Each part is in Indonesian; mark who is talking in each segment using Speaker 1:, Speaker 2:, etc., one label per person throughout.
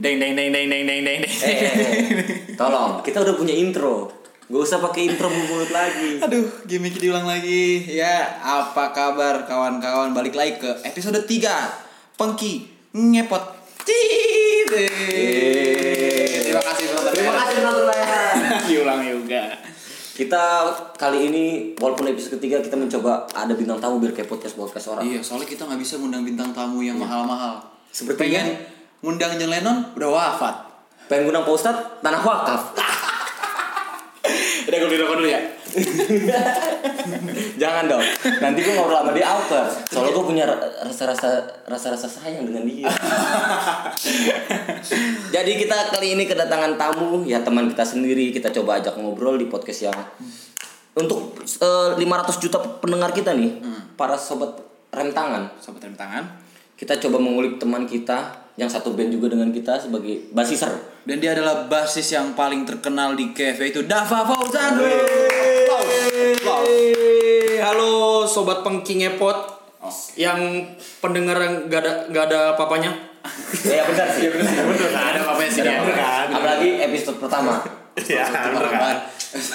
Speaker 1: Deng deng deng deng deng deng deng. deng.
Speaker 2: Eh, eh, eh. tolong, kita udah punya intro. Gak usah pakai intro mulut lagi.
Speaker 3: Aduh, gimmick diulang lagi. Ya, apa kabar kawan-kawan? Balik lagi ke episode 3. Pengki ngepot. Ciit. Terima kasih penonton.
Speaker 2: Terima kasih penonton layanan.
Speaker 1: Diulang juga.
Speaker 2: Kita kali ini walaupun episode ketiga kita mencoba ada bintang tamu biar kayak podcast podcast orang.
Speaker 3: Iya, soalnya kita nggak bisa ngundang bintang tamu yang mahal-mahal.
Speaker 2: Sepertinya-
Speaker 3: pengen ngundang John Lennon udah wafat.
Speaker 2: Pengen ngundang Pak Ustadz, tanah wakaf.
Speaker 1: Udah gue beli rokok dulu ya.
Speaker 2: Jangan dong. Nanti gue ngobrol sama dia apa? Soalnya gue punya ra- rasa-rasa rasa-rasa sayang dengan dia. Jadi kita kali ini kedatangan tamu ya teman kita sendiri kita coba ajak ngobrol di podcast yang untuk eh, 500 juta pendengar kita nih para sobat rem tangan
Speaker 3: Sobat rem tangan.
Speaker 2: kita coba mengulik teman kita yang satu band juga dengan kita sebagai basiser
Speaker 3: Dan dia adalah basis yang paling terkenal di KFV itu Dava Fauzan.
Speaker 1: Yeay. Halo sobat pengking ngepot Oh. yang pendengar yang gak ada gak ada papanya.
Speaker 2: ya benar sih
Speaker 1: Bener kan? Ada papanya sih. Bener kan?
Speaker 2: apalagi episode pertama
Speaker 1: Ya, bener kan?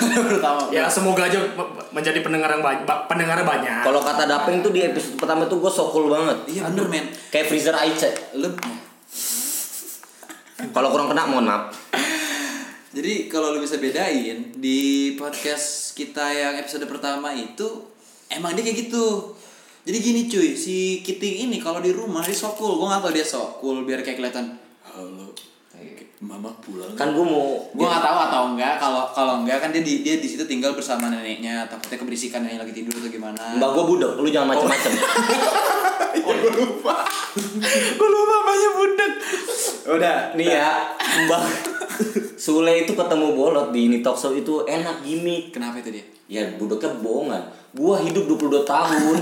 Speaker 3: Pertama.
Speaker 1: Ya semoga aja me- menjadi pendengar yang banyak, pendengar banyak.
Speaker 2: kalau kata Dapeng tuh di episode pertama tuh gue sokul banget
Speaker 3: Iya bener men.
Speaker 2: Kayak freezer Aice.
Speaker 3: Lu
Speaker 2: Kalau kurang kena mohon maaf.
Speaker 3: Jadi kalau lu bisa bedain di podcast kita yang episode pertama itu emang dia kayak gitu. Jadi gini cuy, si Kiting ini kalau di rumah dia sokul, gua gak tau dia sokul biar kayak kelihatan halo. Mama pulang.
Speaker 2: Kan gue mau
Speaker 3: Gua nggak tahu atau enggak kalau kalau enggak kan dia di dia di situ tinggal bersama neneknya takutnya keberisikan neneknya lagi tidur atau gimana
Speaker 2: Mbak gue budek, lu jangan macem-macem.
Speaker 3: Oh. gue lupa banyak budek udah
Speaker 2: Nih ya, Mbak Sule itu ketemu bolot di ini talk show itu enak gimmick.
Speaker 3: kenapa itu dia
Speaker 2: Ya budeknya bohongan. Gua hidup 22 tahun.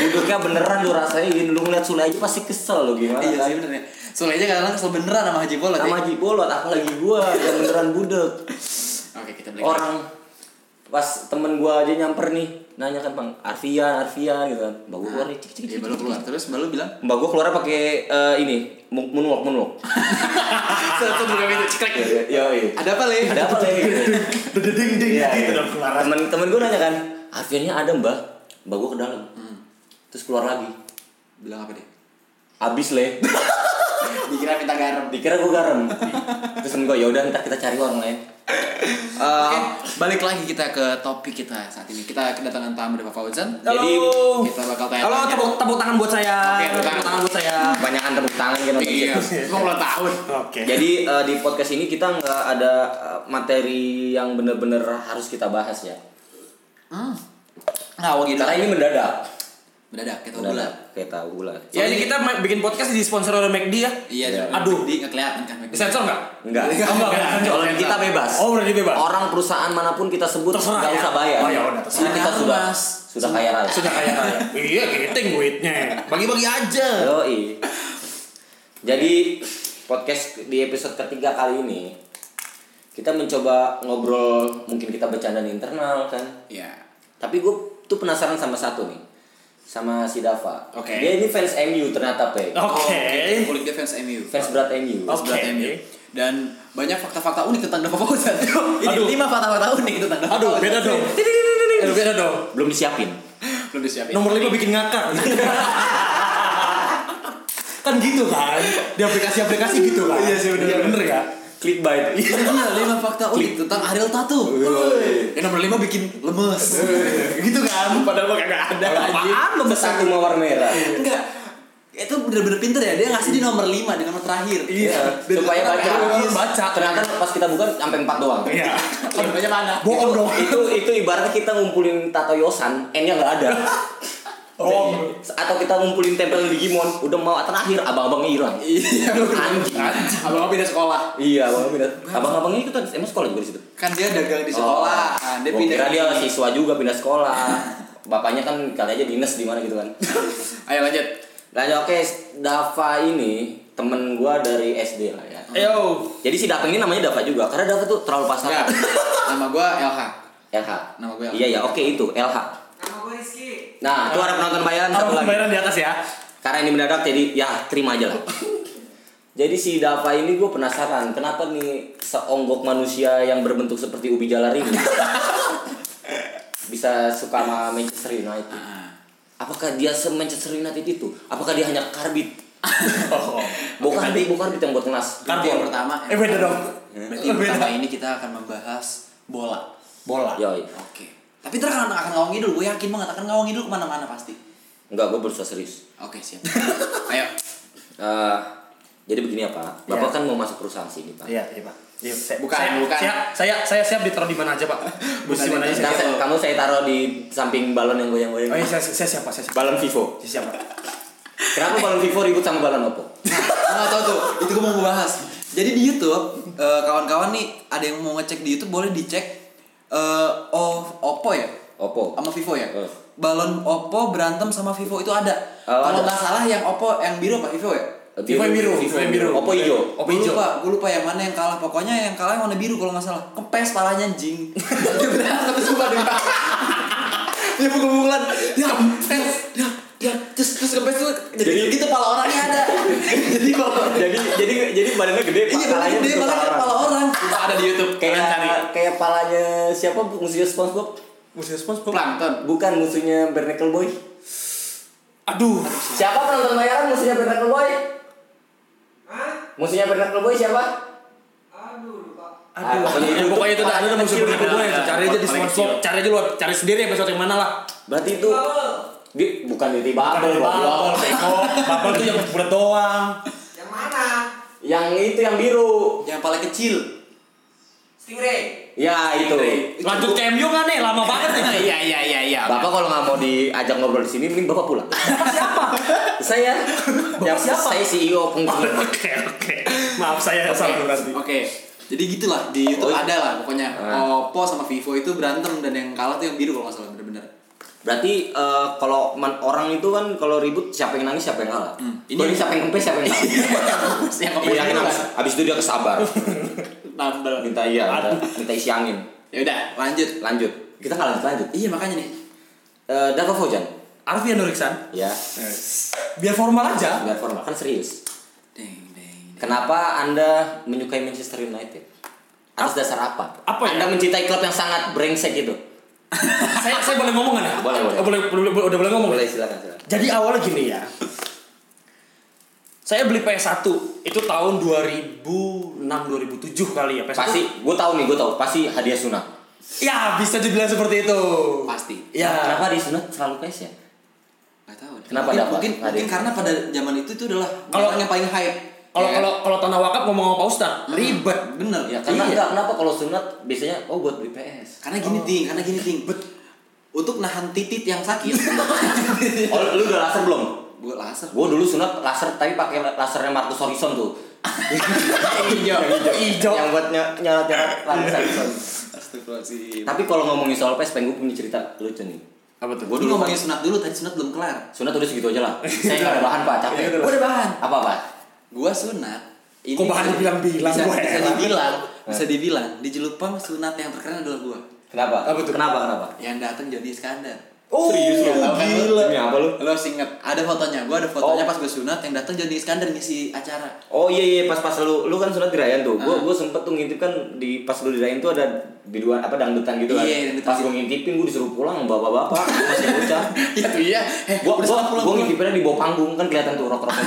Speaker 2: budeknya beneran lu rasain. Lu ngeliat Sule aja pasti kesel lu gimana.
Speaker 3: iya
Speaker 2: kan?
Speaker 3: sih bener ya soalnya aja kadang kesel beneran sama Haji Bolot ya
Speaker 2: Sama Haji Bolot, apalagi gua yang beneran budek.
Speaker 3: oke kita beli
Speaker 2: orang pas temen gua aja nyamper nih nanya kan bang Arfian Arfian gitu kan mbak gua keluar nih cik cik
Speaker 3: dia
Speaker 2: cik
Speaker 3: Iya, baru keluar terus baru bilang
Speaker 2: mbak gua keluar pakai eh, ini mu- moonwalk moonwalk
Speaker 1: Satu buka pintu cekrek.
Speaker 2: ya
Speaker 3: ada apa le
Speaker 2: ada apa lagi
Speaker 1: Gitu Dedeng deng
Speaker 2: Iya,
Speaker 1: gitu
Speaker 2: iya.
Speaker 1: dong keluar.
Speaker 2: temen temen gua nanya kan Arfiannya ada mbak mbak gua ke dalam
Speaker 1: Hmm.
Speaker 2: terus keluar lagi
Speaker 3: bilang apa dia
Speaker 2: abis leh
Speaker 3: dikira minta garam
Speaker 2: dikira gua garam terus temen gua yaudah ntar kita cari orang lain
Speaker 3: Oke, balik lagi kita ke topik kita saat ini kita kedatangan tamu dari Pak Fauzan
Speaker 2: Halo.
Speaker 3: jadi
Speaker 2: Oh.
Speaker 3: kita bakal tanya
Speaker 1: Halo tepuk tepuk tangan buat saya.
Speaker 3: Oke, tepuk
Speaker 1: tepuk
Speaker 3: tangan.
Speaker 1: tangan buat saya.
Speaker 2: kebanyakan tepuk tangan gitu
Speaker 3: iya
Speaker 1: Kok ulang tahun? Oke.
Speaker 2: Jadi eh, di podcast ini kita nggak ada eh, materi yang bener-bener harus kita bahas ya.
Speaker 3: hmm. nah wangi
Speaker 2: Karena ini mendadak.
Speaker 3: mendadak kita gula
Speaker 2: Mendadak kayak tahu lah.
Speaker 1: Ya jadi kita ma- bikin podcast disponsori oleh McD ya.
Speaker 3: iya
Speaker 2: Iya.
Speaker 1: Aduh.
Speaker 3: di nggak kelihatan kan
Speaker 1: Sensor nggak?
Speaker 2: Enggak.
Speaker 1: Oh, enggak, enggak, enggak.
Speaker 2: Kalau kita bebas.
Speaker 1: Oh berarti bebas.
Speaker 2: Orang perusahaan manapun kita sebut
Speaker 1: Terserah
Speaker 2: nggak
Speaker 1: ya.
Speaker 2: usah bayar.
Speaker 1: Oh, ya udah, terserah.
Speaker 2: Karena kita
Speaker 3: Terserah,
Speaker 2: sudah
Speaker 3: Mas.
Speaker 2: sudah kaya raya.
Speaker 1: Sudah kayak Iya, giting duitnya. Bagi-bagi aja.
Speaker 2: Yoi. Jadi podcast di episode ketiga kali ini kita mencoba ngobrol mungkin kita bercandaan internal kan
Speaker 3: iya
Speaker 2: Tapi gue tuh penasaran sama satu nih sama si Dava.
Speaker 1: Oke. Oh.
Speaker 2: Dia ini fans MU ternyata pe.
Speaker 3: Oh,
Speaker 1: Oke.
Speaker 3: kulit dia fans MU
Speaker 2: Fans berat MU.
Speaker 3: Fans berat
Speaker 1: Oke.
Speaker 3: MU dan banyak fakta-fakta unik tentang Dava Fauzan ini
Speaker 1: Aduh.
Speaker 3: lima fakta-fakta unik tentang Dava
Speaker 1: Aduh,
Speaker 3: Fauzan.
Speaker 1: beda dong. Aduh, beda dong.
Speaker 2: Belum disiapin.
Speaker 3: belum disiapin
Speaker 1: Nomor lima bikin ngakak. kan gitu kan di aplikasi-aplikasi gitu kan iya sih bener iya, bener gak
Speaker 2: Clickbait.
Speaker 3: Iya, lima fakta unik tentang Ariel Tato. Yang nomor lima bikin lemes. gitu kan? Padahal mah kagak ada.
Speaker 2: Apaan lo satu mawar merah?
Speaker 1: Iya.
Speaker 3: Enggak. Itu bener-bener pinter ya. Dia ngasih di nomor lima, di nomor terakhir.
Speaker 1: Iya.
Speaker 2: Ya, Supaya baca.
Speaker 3: Baca.
Speaker 2: Ternyata pas kita buka sampai 4 doang.
Speaker 1: iya
Speaker 3: Banyak mana?
Speaker 1: bohong dong
Speaker 2: itu itu ibaratnya kita ngumpulin tato yosan, N-nya nggak ada.
Speaker 1: Iya. oh
Speaker 2: Atau kita ngumpulin tempel Digimon, udah mau terakhir abang-abangnya hilang.
Speaker 3: Iya.
Speaker 2: Anjing.
Speaker 3: Abang pindah sekolah.
Speaker 2: Iya, abang abang-abangnya itu emang sekolah juga di situ.
Speaker 3: Kan dia dagang
Speaker 1: Oh.
Speaker 3: di sekolah. Ah, Nah, Dia
Speaker 2: Oh. Gua
Speaker 3: pindah.
Speaker 2: kira
Speaker 3: ke
Speaker 2: dia
Speaker 3: sini.
Speaker 2: siswa juga pindah sekolah. Bapaknya kan kali aja dinas di mana gitu kan.
Speaker 3: Ayo lanjut.
Speaker 2: Lanjut oke, Dava ini temen gua dari SD lah ya.
Speaker 3: Oh.
Speaker 1: yo
Speaker 2: Jadi si Dava ini namanya Dava juga karena Dava tuh terlalu pasar.
Speaker 3: Enggak. Nama gua LH.
Speaker 2: LH.
Speaker 3: Ya. Nama gua LH.
Speaker 2: Iya ya, oke itu LH.
Speaker 4: Nama gue Rizky.
Speaker 2: Nah, itu ada penonton bayaran satu
Speaker 1: di
Speaker 2: lagi.
Speaker 1: atas ya
Speaker 2: Karena ini mendadak jadi ya terima aja lah. Jadi si Dava ini gue penasaran kenapa nih seonggok manusia yang berbentuk seperti ubi jalar ini bisa suka sama Manchester United. Apakah dia se Manchester United itu? Apakah dia hanya karbit?
Speaker 1: Oh.
Speaker 2: bukan karbit, bukan karbit yang buat kelas.
Speaker 3: Berarti yang pertama.
Speaker 1: Eh beda dong.
Speaker 3: Berarti yang pertama ini kita akan membahas bola.
Speaker 1: Bola.
Speaker 2: Yoi.
Speaker 3: Oke. Tapi ntar akan akan ngawang ngidul, gue yakin banget akan ngawang ngidul kemana-mana pasti.
Speaker 2: Enggak, gue berusaha serius.
Speaker 3: Oke siap. Ayo.
Speaker 2: Eh, jadi begini ya Pak,
Speaker 1: Iya.
Speaker 2: Bapak kan mau masuk perusahaan sini Pak.
Speaker 1: Iya, terima. Iya, saya,
Speaker 3: Bukan,
Speaker 1: saya,
Speaker 3: bukan.
Speaker 1: Saya, saya, saya siap ditaruh di mana aja, Pak. Bus di mana aja saya.
Speaker 2: Nah,
Speaker 1: siap.
Speaker 2: saya- kamu saya taruh di samping balon yang goyang-goyang.
Speaker 1: Oh iya, saya, saya siap, Pak. Saya siap.
Speaker 2: Balon Vivo.
Speaker 1: Saya siap, Pak.
Speaker 2: Kenapa balon Vivo ribut sama balon Oppo?
Speaker 3: Nah, nggak tahu tuh. Itu gue mau bahas. Jadi di YouTube eh, kawan-kawan nih ada yang mau ngecek di YouTube boleh dicek. eh oh, Oppo ya?
Speaker 2: Oppo.
Speaker 3: Sama Vivo ya?
Speaker 2: Eh.
Speaker 3: Balon Oppo berantem sama Vivo itu ada.
Speaker 2: Oh,
Speaker 3: Kalau
Speaker 2: ada.
Speaker 3: nggak salah yang Oppo yang biru apa Vivo ya?
Speaker 1: Vivo yang biru, Vivo yang biru.
Speaker 2: Oppo hijau.
Speaker 1: Oppo
Speaker 3: Gue
Speaker 1: hijau.
Speaker 3: lupa, gue lupa yang mana yang kalah. Pokoknya yang kalah yang warna biru kalau nggak salah. Kempes palanya anjing. Dia berantem sumpah dia. Dia pukul-pukulan. Dia kempes. Dia dia terus terus kempes tuh jadi gitu pala orangnya ada. jadi pala
Speaker 2: Jadi jadi jadi badannya gede,
Speaker 3: Iya, palanya dia malah kayak kepala orang. Kita ada di YouTube.
Speaker 2: Kayak
Speaker 3: Kalian
Speaker 2: kayak palanya siapa musuhnya SpongeBob?
Speaker 1: Musuh SpongeBob.
Speaker 3: Plankton.
Speaker 2: Bukan musuhnya Barnacle Boy.
Speaker 1: Aduh.
Speaker 2: Siapa penonton bayaran musuhnya Barnacle Boy? Musuhnya Barnacle Boy siapa?
Speaker 1: Aduh,
Speaker 2: pokoknya itu-
Speaker 1: Ah, pokoknya itu dah ada dah musuh
Speaker 2: Kecil,
Speaker 1: berkedua
Speaker 2: ada,
Speaker 1: itu.
Speaker 2: ada.
Speaker 1: Cari aja di
Speaker 2: Paling
Speaker 1: SpongeBob.
Speaker 2: kecil.
Speaker 1: Cari aja lu cari sendiri episode yang mana lah.
Speaker 2: Berarti itu di bukan di
Speaker 1: Bubble,
Speaker 2: Bubble, goblok.
Speaker 1: Beko. Bubble tuh yang bulat doang.
Speaker 4: Yang mana?
Speaker 2: Yang itu yang biru.
Speaker 3: Yang paling kecil.
Speaker 4: Stingray.
Speaker 2: Ya itu.
Speaker 1: Lanjut ke MU nggak nih? eh? Lama banget nih.
Speaker 3: Iya, iya, iya, iya.
Speaker 2: Bapak kalau nggak mau diajak ngobrol di sini, mending bapak pulang. siapa? Saya. yang siapa? Saya E CEO pengusaha.
Speaker 1: Oke, oke. Maaf saya salah berarti.
Speaker 3: Oke. Jadi gitulah di YouTube
Speaker 2: Oh, iya.
Speaker 3: ada lah pokoknya.
Speaker 2: Ah.
Speaker 3: Oppo sama Vivo itu berantem dan yang kalah tuh yang biru kalau nggak salah bener-bener.
Speaker 2: Berarti eh, kalau man- orang itu kan kalau ribut siapa yang nangis siapa yang kalah.
Speaker 3: Hmm.
Speaker 2: Ini
Speaker 3: Ini-
Speaker 2: siapa yang kempes siapa yang kalah.
Speaker 3: yang
Speaker 2: Iya, yang
Speaker 3: kepala
Speaker 2: nangis. Abis itu dia kesabar.
Speaker 3: nambel.
Speaker 2: Minta iya, minta, minta isi angin.
Speaker 3: Ya udah, lanjut.
Speaker 2: Lanjut. Kita nggak lanjut lanjut.
Speaker 3: Iya makanya nih.
Speaker 2: Eh Dava Fojan.
Speaker 1: Arfi Nuriksan.
Speaker 2: Ya,
Speaker 1: Biar formal aja.
Speaker 2: biar formal kan serius.
Speaker 3: Ding ding.
Speaker 2: Kenapa Anda menyukai Manchester United? Atas dasar apa?
Speaker 1: Apa ya?
Speaker 2: Anda mencintai klub yang sangat brengsek gitu? itu?
Speaker 1: saya saya boleh ngomong nggak?
Speaker 2: Boleh, boleh.
Speaker 1: Oh, boleh, boleh, boleh, udah boleh ngomong.
Speaker 2: Boleh silakan silakan.
Speaker 1: Jadi awalnya gini ya. Saya beli PS1 itu tahun 2006 2007 kali ya PS1.
Speaker 2: Pasti, gue tahu nih, gue tahu. Pasti hadiah sunat.
Speaker 1: Ya, bisa dibilang seperti itu.
Speaker 3: Pasti.
Speaker 1: Ya.
Speaker 2: Kenapa hadiah sunat selalu PS ya?
Speaker 3: Gak tahu.
Speaker 2: Kenapa dapat?
Speaker 3: mungkin, Mungkin,
Speaker 2: Nggak ada ya?
Speaker 3: mungkin
Speaker 2: yang-
Speaker 3: karena pada zaman itu itu adalah
Speaker 1: Kalau-
Speaker 3: orang yang paling hype.
Speaker 1: Kalau
Speaker 3: Ya kan?
Speaker 1: kalau kalau tanah wakaf ngomong sama Pak Ustad,
Speaker 3: Hmm.
Speaker 1: ribet.
Speaker 3: bener
Speaker 2: Ya karena
Speaker 3: Iya.
Speaker 2: enggak, kenapa kalau sunat biasanya oh buat beli PS.
Speaker 3: Karena gini
Speaker 1: Oh,
Speaker 3: ting, karena gini ting. Untuk nahan titit yang
Speaker 2: Iya,
Speaker 3: sakit.
Speaker 2: Oh, lu udah laser belum?
Speaker 3: gue laser.
Speaker 2: Gua dulu sunat laser tapi pakai lasernya Marcus Horizon tuh.
Speaker 1: Hijau. Hijau.
Speaker 2: Yang buat nyala nyala Marcus Horizon.
Speaker 3: Astagfirullahaladzim.
Speaker 2: tapi kalau ngomongin soal PS, pengen gue punya cerita lucu nih.
Speaker 1: Apa tuh?
Speaker 2: Gua
Speaker 3: Lu
Speaker 2: dulu
Speaker 3: ngomongin sunat dulu, tadi sunat belum kelar.
Speaker 2: sunat udah segitu aja lah. Saya nggak ada bahan pak, capek.
Speaker 1: Iya,
Speaker 3: Gue ada bahan.
Speaker 2: Apa apa?
Speaker 3: Gua sunat. Ini
Speaker 1: Kok bahan dibilang-bilang,
Speaker 3: bisa,
Speaker 1: gua
Speaker 3: bisa
Speaker 1: heran.
Speaker 3: dibilang, bisa dibilang di Jelupang sunat yang terkeren adalah gua.
Speaker 2: Kenapa?
Speaker 1: Apa tuh?
Speaker 2: Kenapa kenapa?
Speaker 3: Yang datang Jody Iskandar.
Speaker 1: Oh,
Speaker 2: Serius
Speaker 1: iya,
Speaker 2: lu?
Speaker 1: tahu kan lu?
Speaker 2: Gila. Demi apa lu?
Speaker 3: Lo harus inget, ada fotonya. Gua ada fotonya
Speaker 2: Oh.
Speaker 3: pas gue sunat yang datang Jody Iskandar ngisi acara.
Speaker 2: Oh iya iya pas pas lu lu kan sunat di Rayan tuh. Gua
Speaker 3: Ah.
Speaker 2: gua sempet tuh ngintip kan di pas lu di Rayan tuh ada di luar apa dangdutan gitu kan.
Speaker 3: Iya, dangdutan.
Speaker 2: pas gua ngintipin gua disuruh pulang bapak-bapak masih bocah.
Speaker 3: Iya tuh iya. Eh,
Speaker 2: Gua
Speaker 3: udah
Speaker 2: gua
Speaker 3: sunat pulang,
Speaker 2: gua
Speaker 3: pulang.
Speaker 2: ngintipinnya di bawah panggung kan kelihatan tuh rok-rokan.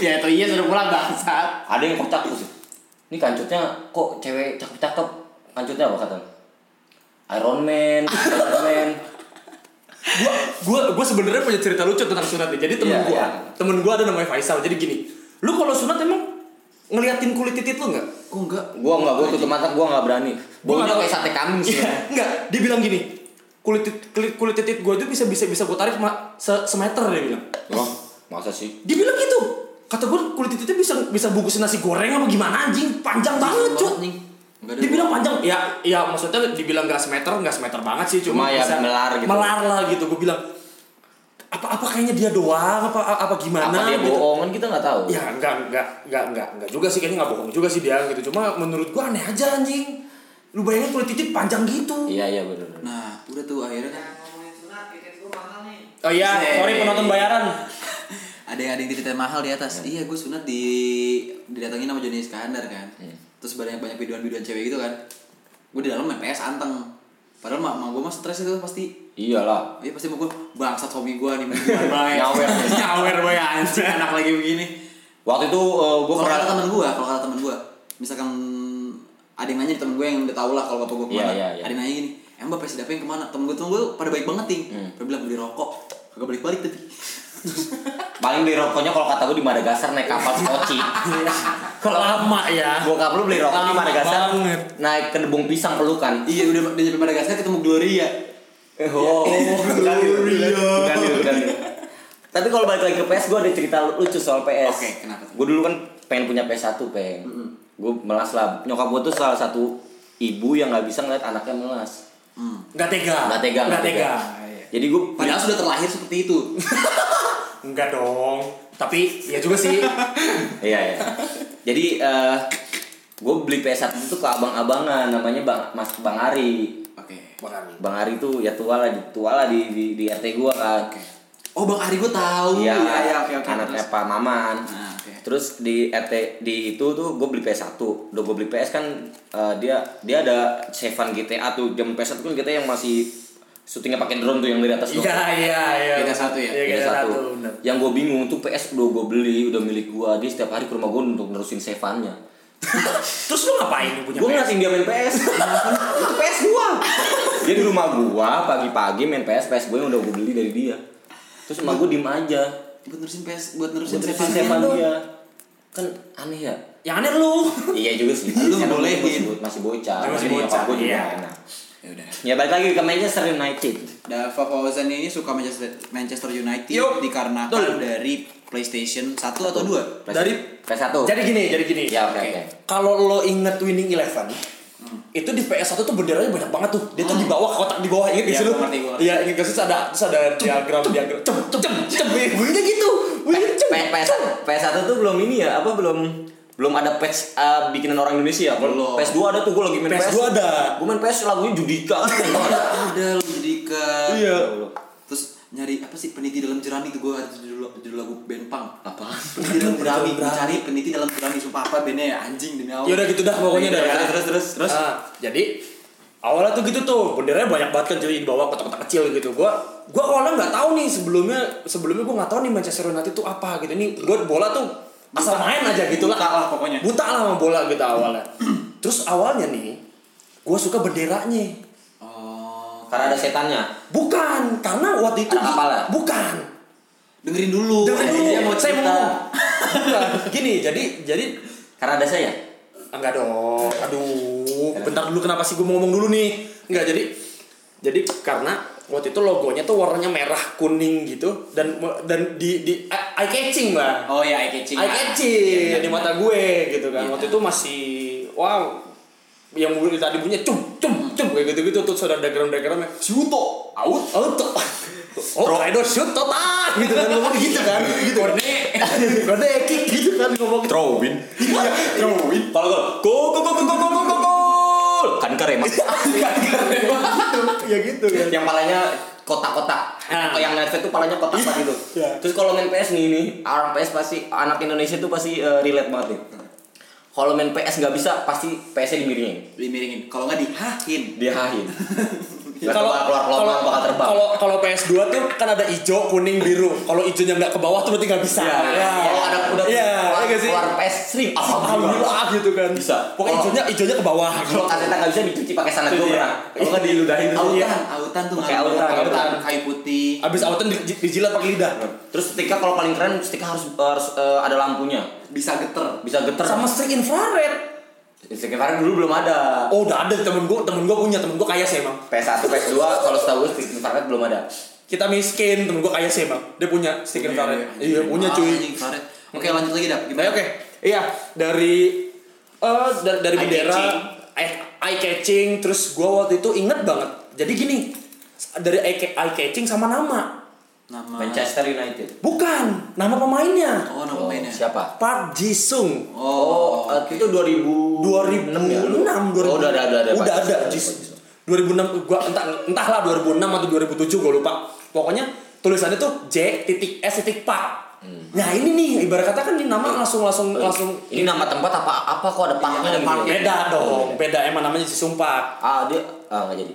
Speaker 3: Ya itu iya sudah pulang bangsat.
Speaker 2: ada yang kocak tuh sih. Ini kancutnya kok cewek cakep-cakep. Kancutnya apa kata? Iron Man, Iron Man.
Speaker 1: gua gua gua sebenarnya punya cerita lucu tentang sunat nih. Jadi temen
Speaker 2: Iya,
Speaker 1: gua,
Speaker 2: iya.
Speaker 1: temen gua ada namanya Faisal. Jadi gini, lu kalau sunat emang ngeliatin kulit titit lu nggak?
Speaker 3: Kok enggak?
Speaker 2: Gua enggak gua tutup mata gua enggak berani.
Speaker 1: Gua
Speaker 2: Baunya
Speaker 1: nggak tahu.
Speaker 2: kayak sate kambing sih.
Speaker 1: Iya, enggak. Dia bilang gini, kulit tit- kulit, kulit titit gua tuh bisa bisa bisa gua tarik ma- se semeter dia bilang.
Speaker 2: Wah, masa sih?
Speaker 1: Dia bilang gitu. Kata gua kulit tititnya bisa bisa bungkusin nasi goreng apa gimana anjing,
Speaker 2: Iya,
Speaker 1: panjang banget,
Speaker 3: Banget,
Speaker 1: cuy.
Speaker 3: nih. Enggak ada.
Speaker 1: Dibilang panjang, ya ya maksudnya dibilang gak semeter, gak semeter banget sih, cuma
Speaker 2: Cuma ya
Speaker 1: bisa
Speaker 2: melar gitu.
Speaker 1: Melar lah gitu, gue bilang apa apa kayaknya dia doang apa apa gimana
Speaker 2: Apa dia
Speaker 1: gitu.
Speaker 2: bohong kan kita enggak tahu.
Speaker 1: Ya enggak, enggak, enggak, enggak, enggak juga sih kayaknya enggak bohong juga sih dia gitu. Cuma menurut gua aneh aja anjing. Lu bayangin kulit titik panjang gitu.
Speaker 2: Iya iya benar.
Speaker 3: Nah, udah tuh akhirnya kan
Speaker 4: Yang ngomongin sunat, tiket gua mahal nih.
Speaker 1: Oh iya,
Speaker 3: Hey.
Speaker 1: sorry penonton bayaran.
Speaker 3: ada yang ada yang titik mahal Iya, di atas. Iya, gue sunat di didatengin sama Johnny Iskandar kan
Speaker 2: Iya.
Speaker 3: terus banyak banyak biduan biduan cewek gitu kan gue di dalam main PS anteng padahal mak mak gue mah stres itu pasti
Speaker 2: Iyalah.
Speaker 3: Iya pasti mau gue bangsat suami gue nih bukan baik.
Speaker 2: Nyawer. ya.
Speaker 3: nyawer boy anjing anak lagi begini.
Speaker 2: Waktu itu eh, gua
Speaker 3: Kalau
Speaker 2: pernah
Speaker 3: kata temen gue, kalau kata temen gue, misalkan ada yang nanya di temen gue yang udah tau lah kalau bapak gue
Speaker 2: Iya,
Speaker 3: kemana,
Speaker 2: iya, iya.
Speaker 3: ada yang nanya gini, emang bapak si Dapa yang kemana? Temen gue tuh gue pada baik banget ting,
Speaker 2: Hmm.
Speaker 3: dia bilang beli rokok, kagak balik balik tapi.
Speaker 2: paling beli rokoknya kalau kata gua di Madagaskar naik kapal skoci. kalau
Speaker 1: Lama ya.
Speaker 2: bokap lu beli rokok di
Speaker 1: Lama
Speaker 2: Madagaskar
Speaker 1: banget.
Speaker 2: naik ke debung pisang pelukan.
Speaker 3: iya udah udah nyampe Madagaskar ketemu Gloria. Eh,
Speaker 2: Oh, bukan Dil. Bukan,
Speaker 3: Iya.
Speaker 2: Dil, bukan, Dil. Tapi kalau balik lagi ke PS, gue ada cerita lucu soal PS.
Speaker 3: Oke, kenapa tuh?
Speaker 2: Gue dulu kan pengen punya PS1, peng. Gue melas lah. Nyokap gue tuh salah satu ibu yang nggak bisa ngeliat anaknya melas.
Speaker 3: Hmm.
Speaker 1: Nggak tega.
Speaker 2: Nggak tega,
Speaker 1: Nggak
Speaker 2: nggak
Speaker 1: tega.
Speaker 2: Jadi gue
Speaker 3: Iya. Padahal sudah terlahir seperti itu.
Speaker 1: Enggak dong. Tapi ya juga sih.
Speaker 2: Iya, iya. Jadi eh gue beli PS1 itu ke abang-abangan namanya Bang Mas Bang Ari.
Speaker 3: Oke.
Speaker 1: Bang
Speaker 2: Bang Ari tuh ya tua lah, tua lah di, di, di RT gue kan.
Speaker 3: Oh Bang Ari gue tahu.
Speaker 2: Iya,
Speaker 3: iya iya, oke oke.
Speaker 2: anaknya
Speaker 3: terus.
Speaker 2: Pak Maman.
Speaker 3: Nah, oke.
Speaker 2: Terus di RT di itu tuh gue beli PS1. Udah gue beli PS kan eh, dia dia ada savean GTA tuh. Jam PS1 kan GTA yang masih syutingnya pakai drone tuh yang dari atas
Speaker 1: Iya iya iya.
Speaker 3: Beda satu ya?
Speaker 1: Iya
Speaker 2: Iya,
Speaker 1: beda
Speaker 2: satu.
Speaker 1: satu. bener.
Speaker 2: Yang gue bingung tuh PS udah gue beli, udah milik gue. Dia setiap hari ke rumah gue untuk nerusin saveannya.
Speaker 1: Terus lu ngapain lu punya
Speaker 2: Gue
Speaker 1: PS?
Speaker 2: Ya, ngeliatin dia main PS. itu PS gue. Dia di rumah gue pagi-pagi main PS, PS gue yang udah gue beli dari dia. Terus emak gue diem aja.
Speaker 3: Buat nerusin PS, buat
Speaker 2: Terus
Speaker 3: nerusin
Speaker 2: nerusin iya.
Speaker 3: Stefania
Speaker 2: savean
Speaker 3: dong.
Speaker 2: dia. Kan aneh ya.
Speaker 1: Yang aneh lu.
Speaker 2: iya juga sih.
Speaker 3: Lu
Speaker 2: Emang
Speaker 3: bolehin.
Speaker 2: masih bo- masih bocah.
Speaker 1: Dia masih
Speaker 2: Jadi
Speaker 1: bocah,
Speaker 2: nyokap gua juga
Speaker 1: iya.
Speaker 2: enak.
Speaker 3: Ya udah.
Speaker 2: Ya balik lagi ke Manchester United.
Speaker 3: Dava Fauzan ini suka Manchester, Manchester United
Speaker 1: Yup.
Speaker 3: dikarenakan
Speaker 1: Betul.
Speaker 3: dari PlayStation 1 atau 2?
Speaker 1: Dari-
Speaker 2: PS1.
Speaker 1: Jadi gini, jadi gini.
Speaker 2: ya oke
Speaker 3: Oke.
Speaker 2: oke.
Speaker 1: Kalau lo inget Winning Eleven, itu di PS1 tuh benderanya banyak banget tuh. Dia tuh di bawah kotak di bawah inget
Speaker 3: Iya,
Speaker 1: gak sih lu?
Speaker 3: gua ngerti, gua ngerti.
Speaker 1: Iya, inget gak sih? Terus ada terus ada diagram diagram. Cem cem cem. cem. Bunyinya gitu. Bunyinya cem.
Speaker 2: Eh, P- PS PS1 tuh belum ini ya, apa belum belum ada patch uh, bikinan orang Indonesia ya?
Speaker 3: Belum.
Speaker 2: PS2 ada tuh gue lagi main PS.
Speaker 1: PS2 ada.
Speaker 2: Gue main PS lagunya Judika.
Speaker 3: Ah, Udah lu jadi ke Ya
Speaker 1: Iya.
Speaker 3: Terus nyari apa sih peniti dalam jerami itu gue ada judul, judul lagu band punk
Speaker 2: apa?
Speaker 3: Peniti dalam jerami,
Speaker 1: Dalam jerami.
Speaker 3: mencari peniti dalam jerami Sumpah apa bandnya ya anjing demi Allah
Speaker 1: Ya udah gitu dah pokoknya
Speaker 3: Iya,
Speaker 1: dah.
Speaker 3: Terus terus terus terus
Speaker 1: Ah, jadi awalnya tuh gitu tuh benderanya banyak banget kan jadi di bawah kotak-kotak kecil gitu gua gua awalnya nggak tahu nih sebelumnya sebelumnya gua nggak tahu nih Manchester United tuh apa gitu nih gua bola tuh asal main aja gitu lah
Speaker 3: Buta lah pokoknya.
Speaker 1: buta lah sama bola gitu awalnya terus awalnya nih gua suka benderanya
Speaker 3: Oh
Speaker 2: Karena ada setannya.
Speaker 1: bukan karena waktu itu
Speaker 2: Anak kepala?
Speaker 1: bukan
Speaker 3: Dengerin dulu
Speaker 1: Dengerin dulu.
Speaker 3: Oh, eh, Dia mau
Speaker 1: Saya
Speaker 3: cerita
Speaker 1: mau- bukan gini jadi jadi
Speaker 2: Karena ada saya.
Speaker 1: Enggak Ah, dong. Aduh, bentar dulu kenapa sih gue mau ngomong dulu nih? Enggak jadi jadi karena waktu itu logonya tuh warnanya merah kuning gitu dan dan di di eye catching lah.
Speaker 3: Oh ya, eye catching
Speaker 1: Eye catching
Speaker 3: Iya,
Speaker 1: di mata gue gitu kan.
Speaker 3: Iya.
Speaker 1: Waktu itu masih wow yang mungkin tadi punya cum cum cum kayak gitu gitu terus ada diagram diagramnya siuto out auto oh Raido shoot total gitu kan ngomong gitu kan gitu kode kode kick gitu kan ngomong Iya,
Speaker 2: Throw win.
Speaker 1: Throw in.
Speaker 2: Kalau gol, gol gol gol gol gol gol gol gol. Kan keren mas.
Speaker 1: ya gitu kan
Speaker 2: yang palanya kotak-kotak
Speaker 1: Ah.
Speaker 2: atau yang netfet tuh palanya kotak-kotak gitu
Speaker 1: Iya.
Speaker 2: terus kalau main PS nih nih orang PS pasti anak Indonesia tuh pasti eh, relate banget nih kalau main PS nggak bisa pasti PS-nya dimiringin
Speaker 3: Dimiringin Kalau nggak dihahin
Speaker 2: dihahin Nggak
Speaker 1: kalau
Speaker 2: keluar keluar keluar bakal terbang
Speaker 1: kalau kalau PS2 tuh kan ada hijau, kuning, biru. Kalau hijaunya nggak ke bawah tuh berarti nggak bisa.
Speaker 2: Nah, kalau ada udah
Speaker 1: Iya,
Speaker 2: keluar,
Speaker 1: iya nggak sih?
Speaker 2: keluar PS sering alhamdulillah
Speaker 1: Alhamdulillah gitu kan.
Speaker 2: Bisa.
Speaker 1: Pokoknya
Speaker 2: Kalau-
Speaker 1: hijaunya hijaunya ke bawah.
Speaker 2: kalau kasetnya nggak bisa dicuci pakai sanad
Speaker 1: Iya.
Speaker 2: gue pernah kalau nggak diludahin dulu
Speaker 1: Iya.
Speaker 3: Autan, autan tuh
Speaker 2: Pakai
Speaker 3: ngambil
Speaker 2: autan,
Speaker 1: autan.
Speaker 3: kayu putih
Speaker 1: Abis autan di- dijilat pakai lidah.
Speaker 2: terus ketika kalau paling keren ketika harus harus eh, ada lampunya
Speaker 3: bisa geter
Speaker 2: bisa geter
Speaker 1: Sama strik infrared.
Speaker 2: sekarang dulu belum ada
Speaker 1: Oh udah ada temen gua, temen gua punya, temen gua kaya sih emang.
Speaker 2: PS1, PS2 kalau setahu gue street infrared belum ada.
Speaker 1: Kita miskin, temen gua kaya sih emang. Dia punya strik infrared. Iya punya
Speaker 3: Ah,
Speaker 1: cuy.
Speaker 3: anjing, infrared. Oke lanjut lagi dap.
Speaker 1: Nah,
Speaker 3: Gimana?
Speaker 1: oke. Iya, dari eh dari, dari
Speaker 3: Eye
Speaker 1: bendera
Speaker 3: catching.
Speaker 1: eye, eye catching terus gua waktu itu inget banget. Jadi gini, dari eye, ca- eye catching sama nama. Ah.
Speaker 3: Nama.
Speaker 2: Manchester United.
Speaker 1: Bukan, nama pemainnya.
Speaker 3: Oh nama
Speaker 2: Oh,
Speaker 3: mainnya.
Speaker 2: siapa?
Speaker 1: Park Jisung.
Speaker 2: Oh, eh, itu 2000
Speaker 1: 2006
Speaker 2: ya?
Speaker 1: 2000.
Speaker 2: Oh, udah ada ada ada.
Speaker 1: Udah
Speaker 2: Pak.
Speaker 1: ada Jis- 2006 gua entah entahlah 2006 atau 2007 gua lupa. Pokoknya tulisannya tuh J titik S titik Park.
Speaker 2: Hmm.
Speaker 1: Nah ini nih ibarat kata kan ini
Speaker 2: Iya.
Speaker 1: nama langsung langsung
Speaker 2: Oh,
Speaker 1: langsung
Speaker 2: Ini nama tempat apa apa kok ada parknya
Speaker 3: Iya, ada
Speaker 2: gitu.
Speaker 3: parknya.
Speaker 1: beda
Speaker 2: Iya.
Speaker 1: dong beda emang namanya Jisumpak
Speaker 2: Ah dia ah nggak jadi.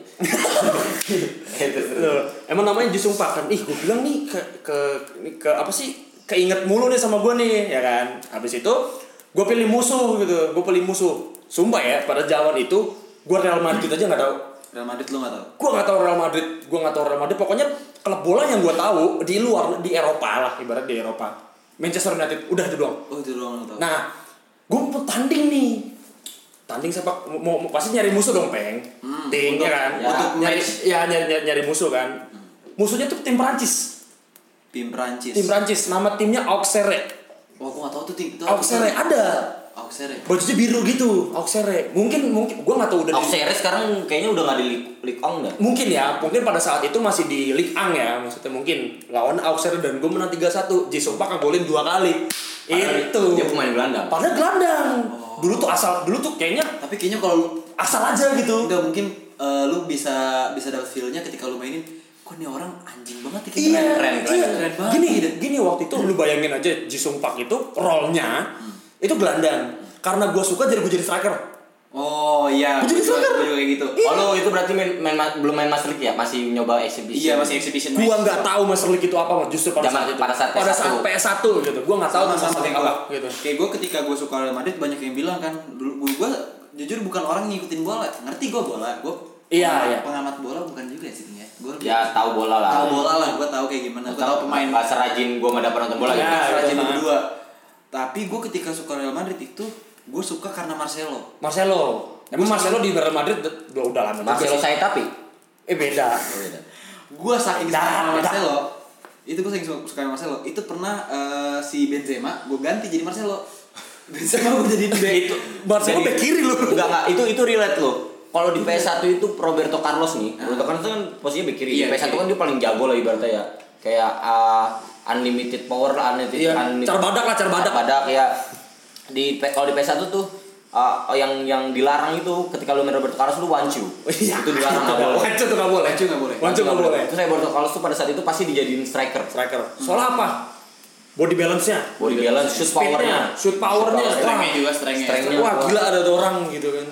Speaker 1: Loh, emang namanya Jisumpak kan ih gue bilang nih ke ke ini ke apa sih keinget mulu nih sama gue nih ya kan habis itu gue pilih musuh gitu gue pilih musuh sumpah ya pada jalan itu gue Real Madrid aja nggak tahu
Speaker 3: Real Madrid lu nggak tahu?
Speaker 1: gue nggak tahu Real Madrid gue nggak tahu Real Madrid pokoknya klub bola yang gue tahu di luar di Eropa lah ibarat di Eropa Manchester United udah itu doang
Speaker 3: Oh itu doang lu tahu.
Speaker 1: Nah, gue mau tanding nih. Tanding sepak mau, mau pasti nyari musuh dong, Peng.
Speaker 3: Hmm,
Speaker 1: Ting ya kan.
Speaker 3: ya.
Speaker 1: Untuk nyari ya nyari, nyari, nyari musuh kan. Musuhnya tuh tim Prancis.
Speaker 3: tim Prancis.
Speaker 1: Tim Prancis, nama timnya Auxerre.
Speaker 3: Wah, gua nggak tahu tuh tim itu. apa.
Speaker 1: Auxerre ada.
Speaker 3: Auxerre.
Speaker 1: Bajunya biru gitu, Auxerre. Mungkin mungkin gua nggak tahu udah di-
Speaker 2: Auxerre sekarang kayaknya udah nggak di Ligue Ligue Ong dah.
Speaker 1: mungkin ya, mungkin pada saat itu masih di Ligue Ang ya, maksudnya mungkin lawan Auxerre dan gue menang 3-1. Jisumpa ngegolin dua kali.
Speaker 2: Padahal
Speaker 1: itu.
Speaker 2: Dia pemain Belanda.
Speaker 1: Padahal gelandang. Dulu tuh asal dulu tuh kayaknya
Speaker 3: Tapi kayaknya kalau lu
Speaker 1: asal aja gitu.
Speaker 3: nggak mungkin eh, lu bisa bisa dapat feel-nya ketika lu mainin kok nih orang anjing banget ya
Speaker 1: Iya,
Speaker 3: keren, keren,
Speaker 1: iya.
Speaker 3: keren banget
Speaker 1: Gini,
Speaker 3: Gitu.
Speaker 1: gini waktu itu lu bayangin aja Jisung Park itu rollnya itu gelandang. Karena gue suka jadi gue jadi striker.
Speaker 3: oh iya
Speaker 1: Gua jadi
Speaker 3: Gua-
Speaker 1: striker.
Speaker 3: gua juga kayak gitu
Speaker 2: Oh lu itu berarti main, main ma- belum main Master League ya? Masih nyoba exhibition.
Speaker 3: iya masih exhibition
Speaker 1: Gue
Speaker 3: match.
Speaker 1: nggak tahu Master League itu apa Mas. justru pada saat
Speaker 2: Zaman-
Speaker 1: itu.
Speaker 2: pada saat
Speaker 1: pada saat
Speaker 2: PS1.
Speaker 1: PS1 gitu. Gue nggak tahu
Speaker 3: sama
Speaker 1: Master
Speaker 3: sama
Speaker 1: League
Speaker 3: kayak
Speaker 1: apa
Speaker 3: gua
Speaker 1: gitu.
Speaker 3: kayak gue ketika gue suka Real Madrid banyak yang bilang kan dulu gue jujur bukan orang yang ngikutin bola ngerti gue bola gue
Speaker 1: Iya, iya.
Speaker 3: pengamat bola bukan juga sih ya gue
Speaker 2: Ya tahu bola lah.
Speaker 3: tahu bola lah gue tahu kayak gimana gue
Speaker 2: Tahu
Speaker 3: tahu pemain
Speaker 2: bahasa rajin gua mah dapat nonton bola
Speaker 1: Iya.
Speaker 2: gitu.
Speaker 3: Bahasa rajin
Speaker 1: betul.
Speaker 3: berdua tapi gue ketika suka Real Madrid itu gue suka karena Marcelo
Speaker 1: Marcelo. Emang Marcelo di Real Madrid udah udah lama juga
Speaker 2: Marcelo
Speaker 1: sih.
Speaker 2: saya tapi.
Speaker 1: Eh beda.
Speaker 3: gue saking suka
Speaker 1: Dah,
Speaker 3: sama
Speaker 1: dah.
Speaker 3: Marcelo itu gue saking suka sama Marcelo itu pernah eh, si Benzema gue ganti jadi Marcelo Benzema gue jadi back
Speaker 1: Itu Marcelo
Speaker 2: Jadi-
Speaker 1: bek kiri lu.
Speaker 2: Enggak enggak itu itu relate lo. Kalau di PS1 itu Roberto Carlos nih. Roberto Carlos kan posisinya bek kiri.
Speaker 3: Iya,
Speaker 2: PS1
Speaker 3: kiri.
Speaker 2: kan dia paling jago lah ibaratnya ya. Kayak ah, unlimited power lah unlimited.
Speaker 1: Iya,
Speaker 2: unlimited
Speaker 1: cerbadak lah, cerbadak.
Speaker 2: Cerbadak ya. Di P- kalau di PS1 tuh ah, yang yang dilarang itu ketika lu main Roberto Carlos lu wancu.
Speaker 1: Oh, iya.
Speaker 2: itu dilarang nggak boleh.
Speaker 1: Wancu tuh nggak boleh.
Speaker 3: Wancu nggak boleh.
Speaker 1: Wancu nggak boleh.
Speaker 2: Terus Roberto Carlos tuh pada saat itu pasti dijadiin striker.
Speaker 1: Striker. Soalnya apa? Body balance-nya.
Speaker 2: Body balance, shoot powernya,
Speaker 1: shoot powernya, strength.
Speaker 2: Shoot
Speaker 3: Strength-nya juga strength-nya.
Speaker 2: Strength-nya.
Speaker 1: Wah gila ada tuh orang gitu kan.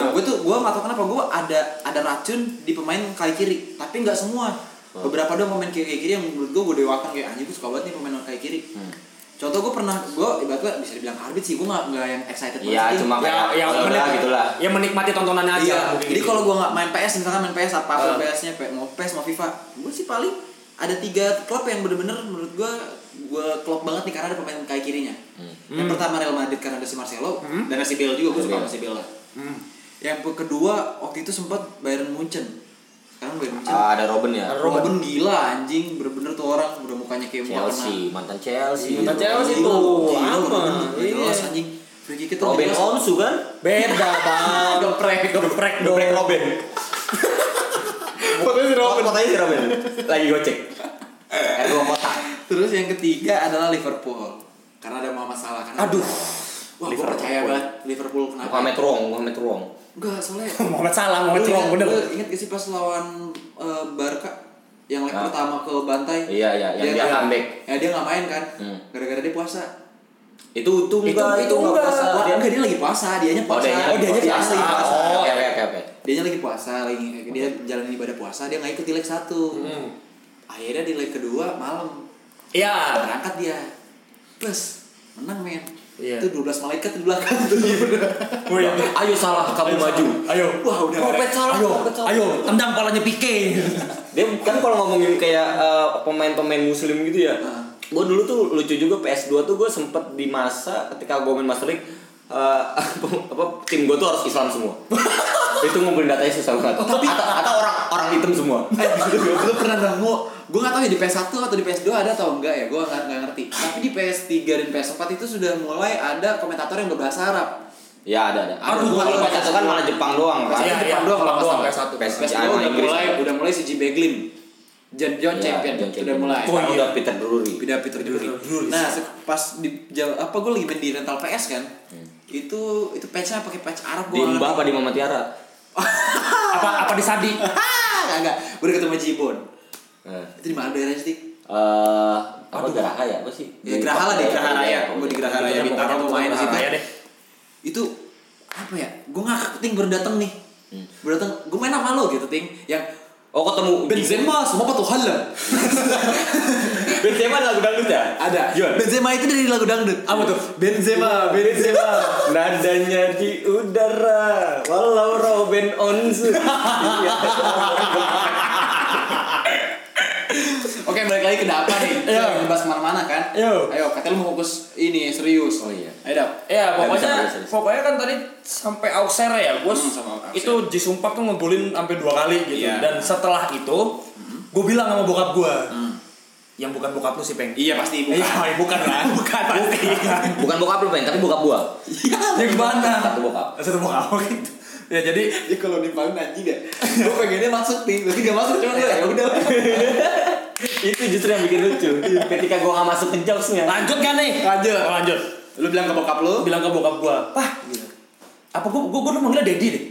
Speaker 3: Nah, gue tuh gue nggak tahu kenapa gue ada ada racun di pemain kaki kiri, tapi nggak semua.
Speaker 2: Oh.
Speaker 3: Beberapa doang pemain kaki kiri yang menurut gue gue dewakan kayak anjing gue suka banget nih pemain kaki kiri.
Speaker 2: Hmm.
Speaker 3: Contoh gue pernah gue ibaratnya bisa dibilang arbit sih gue nggak nggak yang excited banget.
Speaker 2: Iya,
Speaker 3: sih.
Speaker 2: cuma
Speaker 1: ya,
Speaker 2: kayak
Speaker 1: yang
Speaker 2: ya, udah
Speaker 1: menik-
Speaker 2: gitu lah.
Speaker 1: yang menikmati tontonannya aja.
Speaker 3: Iya.
Speaker 1: mungkin
Speaker 3: Jadi
Speaker 1: gitu.
Speaker 3: kalau gue nggak main PS misalkan main PS apa pun
Speaker 1: Ah.
Speaker 3: PS-nya kayak mau PS mau FIFA, gue sih paling ada tiga klub yang bener-bener menurut gue gue klop banget nih karena ada pemain kaki kirinya.
Speaker 2: Hmm.
Speaker 1: Hmm.
Speaker 3: Yang pertama Real Madrid karena ada si Marcelo dan ada si Bale juga gue
Speaker 2: Iya.
Speaker 3: suka sama si Bale lah.
Speaker 1: Hmm.
Speaker 3: Yang pe- kedua waktu itu sempat Bayern Munchen. Sekarang Bayern Munchen.
Speaker 2: Ah, ada Robin ya.
Speaker 1: Robin.
Speaker 3: Robin gila anjing, bener-bener tuh orang udah mukanya kayak muka
Speaker 2: Chelsea, mantan
Speaker 1: Iya,
Speaker 2: Chelsea.
Speaker 1: mantan
Speaker 3: kena.
Speaker 1: Chelsea
Speaker 3: Gila,
Speaker 1: tuh,
Speaker 3: gila,
Speaker 1: lama.
Speaker 3: Robin, nggak
Speaker 1: Iya.
Speaker 3: jelas anjing. Free kick itu nggak
Speaker 2: Robin
Speaker 3: jelas.
Speaker 2: Holmes juga kan?
Speaker 1: beda bang. geprek geprek dong.
Speaker 2: Black Robin.
Speaker 1: Fotonya si Robin.
Speaker 2: Kotanya si Robin. Lagi gocek. Ergo kotak.
Speaker 3: Terus yang ketiga adalah Liverpool. Karena ada Muhammad Salah kan.
Speaker 1: Aduh.
Speaker 3: Wah, gue
Speaker 2: Liverpool.
Speaker 3: percaya banget Liverpool kenapa?
Speaker 2: Muhammad Ruang, Muhammad Ruang.
Speaker 3: Enggak, soalnya
Speaker 1: Muhammad Salah, Muhammad
Speaker 3: Gua
Speaker 1: Ruang
Speaker 3: ingat-
Speaker 1: bener.
Speaker 3: gua Ingat gak sih pas lawan eh, Barca yang leg
Speaker 2: Ah.
Speaker 3: pertama ke bantai?
Speaker 2: Iya, iya, yang dia
Speaker 3: nggak-
Speaker 2: comeback.
Speaker 3: Ya dia nggak main kan?
Speaker 2: Hmm.
Speaker 3: Gara-gara dia puasa.
Speaker 2: Itu itu enggak,
Speaker 1: itu enggak.
Speaker 2: puasa.
Speaker 3: Wah,
Speaker 2: Dia-
Speaker 3: enggak dia lagi puasa, dianya
Speaker 2: Oh,
Speaker 3: puasa.
Speaker 2: dia
Speaker 1: Oh, dianya
Speaker 3: dia
Speaker 1: puasa.
Speaker 3: lagi puasa.
Speaker 2: Oh, oke oke oke.
Speaker 3: Dianya lagi puasa, lagi dia jalanin ibadah puasa, dia nggak ikut di leg satu.
Speaker 1: Hmm.
Speaker 3: Akhirnya di leg kedua malam
Speaker 1: Iya.
Speaker 3: berangkat dia plus menang men
Speaker 1: Iya.
Speaker 3: itu 12 malaikat di belakang tuh
Speaker 1: Oh, iya.
Speaker 2: Ayo salah kamu maju.
Speaker 1: Ayo.
Speaker 3: Wah, udah.
Speaker 1: Kopet salah.
Speaker 2: Ayo,
Speaker 1: Ayo, ayo tendang palanya Pique.
Speaker 2: Dia kan kalau ngomongin kayak eh, pemain-pemain muslim gitu ya.
Speaker 3: Ah.
Speaker 2: Gue dulu tuh lucu juga PS2 tuh gue sempet di masa ketika gue main Master League eh, apa tim gue tuh harus Islam semua. itu ngumpulin datanya susah banget.
Speaker 3: Oh, Tapi-
Speaker 2: atau, atau orang orang hitam semua.
Speaker 3: Eh, lu pernah nemu gue gak tahu ya di PS1 atau di PS2 ada atau enggak ya gue gak, nggak ngerti tapi di PS3 dan PS4 itu sudah mulai ada komentator yang berbahasa Arab
Speaker 2: Ya ada ada.
Speaker 3: Aduh,
Speaker 2: Aduh, kalau
Speaker 3: gua-
Speaker 2: baca itu kan malah Jepang doang. Kan?
Speaker 1: Iya,
Speaker 3: Jepang
Speaker 1: iya,
Speaker 3: doang kalau
Speaker 1: Jepang
Speaker 3: nggak salah.
Speaker 1: doang, PS1.
Speaker 3: PS2
Speaker 2: Sama
Speaker 3: udah
Speaker 2: Inggris.
Speaker 3: mulai udah mulai si G Beglin John John
Speaker 2: Iya,
Speaker 3: Champion
Speaker 2: John
Speaker 3: sudah
Speaker 2: Champion.
Speaker 3: mulai
Speaker 1: Oh,
Speaker 2: Sekarang
Speaker 1: iya.
Speaker 2: udah Peter Drury.
Speaker 3: pindah Peter Drury.
Speaker 1: Drury.
Speaker 3: Nah, se- pas di jal- apa gue lagi main di rental PS kan. Itu itu patchnya pakai patch Arab
Speaker 2: Di
Speaker 3: gua nggak
Speaker 2: Mbah
Speaker 3: ngerti.
Speaker 2: apa di Mama Tiara?
Speaker 1: Apa apa di Sadi?
Speaker 3: Ah, enggak, enggak. Gue udah ketemu Jibon.
Speaker 2: Nah,
Speaker 3: Iya. Itu di mana daerahnya sih?
Speaker 2: eh apa Geraha ya apa sih?
Speaker 3: Ya, Geraha lah di Geraha Raya. Gua di Geraha Raya Bintaro tuh main di situ.
Speaker 1: Raya deh.
Speaker 3: Itu apa ya? Gue ngakak ting baru dateng nih. Baru dateng, gue main sama lo gitu ting. Yang
Speaker 2: Oh ketemu
Speaker 3: Benzema semua patuh halam.
Speaker 2: Benzema lagu dangdut ya?
Speaker 3: Ada.
Speaker 2: Gimana?
Speaker 3: Benzema itu dari lagu dangdut. Apa tuh? Benzema,
Speaker 1: Benzema nadanya di udara walau Robin Onsu.
Speaker 3: Oke, balik lagi ke Dapa nih. Kita
Speaker 1: Iya.
Speaker 3: nggak bahas kemana-mana kan?
Speaker 1: Yo.
Speaker 3: Ayo, katanya lu mau fokus ini serius.
Speaker 2: Oh, iya.
Speaker 3: Ayo Dap.
Speaker 1: Ya
Speaker 2: Nggak
Speaker 1: pokoknya
Speaker 2: bisa, nggak bisa.
Speaker 1: pokoknya kan tadi sampai Auxerre ya, gue
Speaker 3: Hmm, sama Auxerre.
Speaker 1: itu jisumpah tuh ngebulin sampai dua kali gitu.
Speaker 3: Iya.
Speaker 1: Dan setelah itu,
Speaker 2: Hmm.
Speaker 1: gue bilang sama bokap gue, yang bukan bokap lu sih peng.
Speaker 3: Iya pasti
Speaker 1: Eh, Iya, bukan lah. bukan pasti.
Speaker 2: Bukan bokap lu pengen, tapi bokap gua.
Speaker 1: yang mana?
Speaker 2: Satu bokap.
Speaker 1: Satu bokap. gitu. Ya jadi
Speaker 3: Ya kalau dipanggil anjing ya. Gue pengennya masuk nih, tapi gak masuk cuman ya udah.
Speaker 2: Itu justru yang bikin lucu. Ketika gua nggak masuk ke ya. jokesnya.
Speaker 1: Iya. lanjut kan nih?
Speaker 3: Lanjut.
Speaker 1: Oh, lanjut.
Speaker 3: Lu bilang ke bokap lu?
Speaker 1: Bilang ke bokap gue, pah,
Speaker 2: Iya.
Speaker 1: gitu. Apa gue gue gue manggilnya Dedi deh.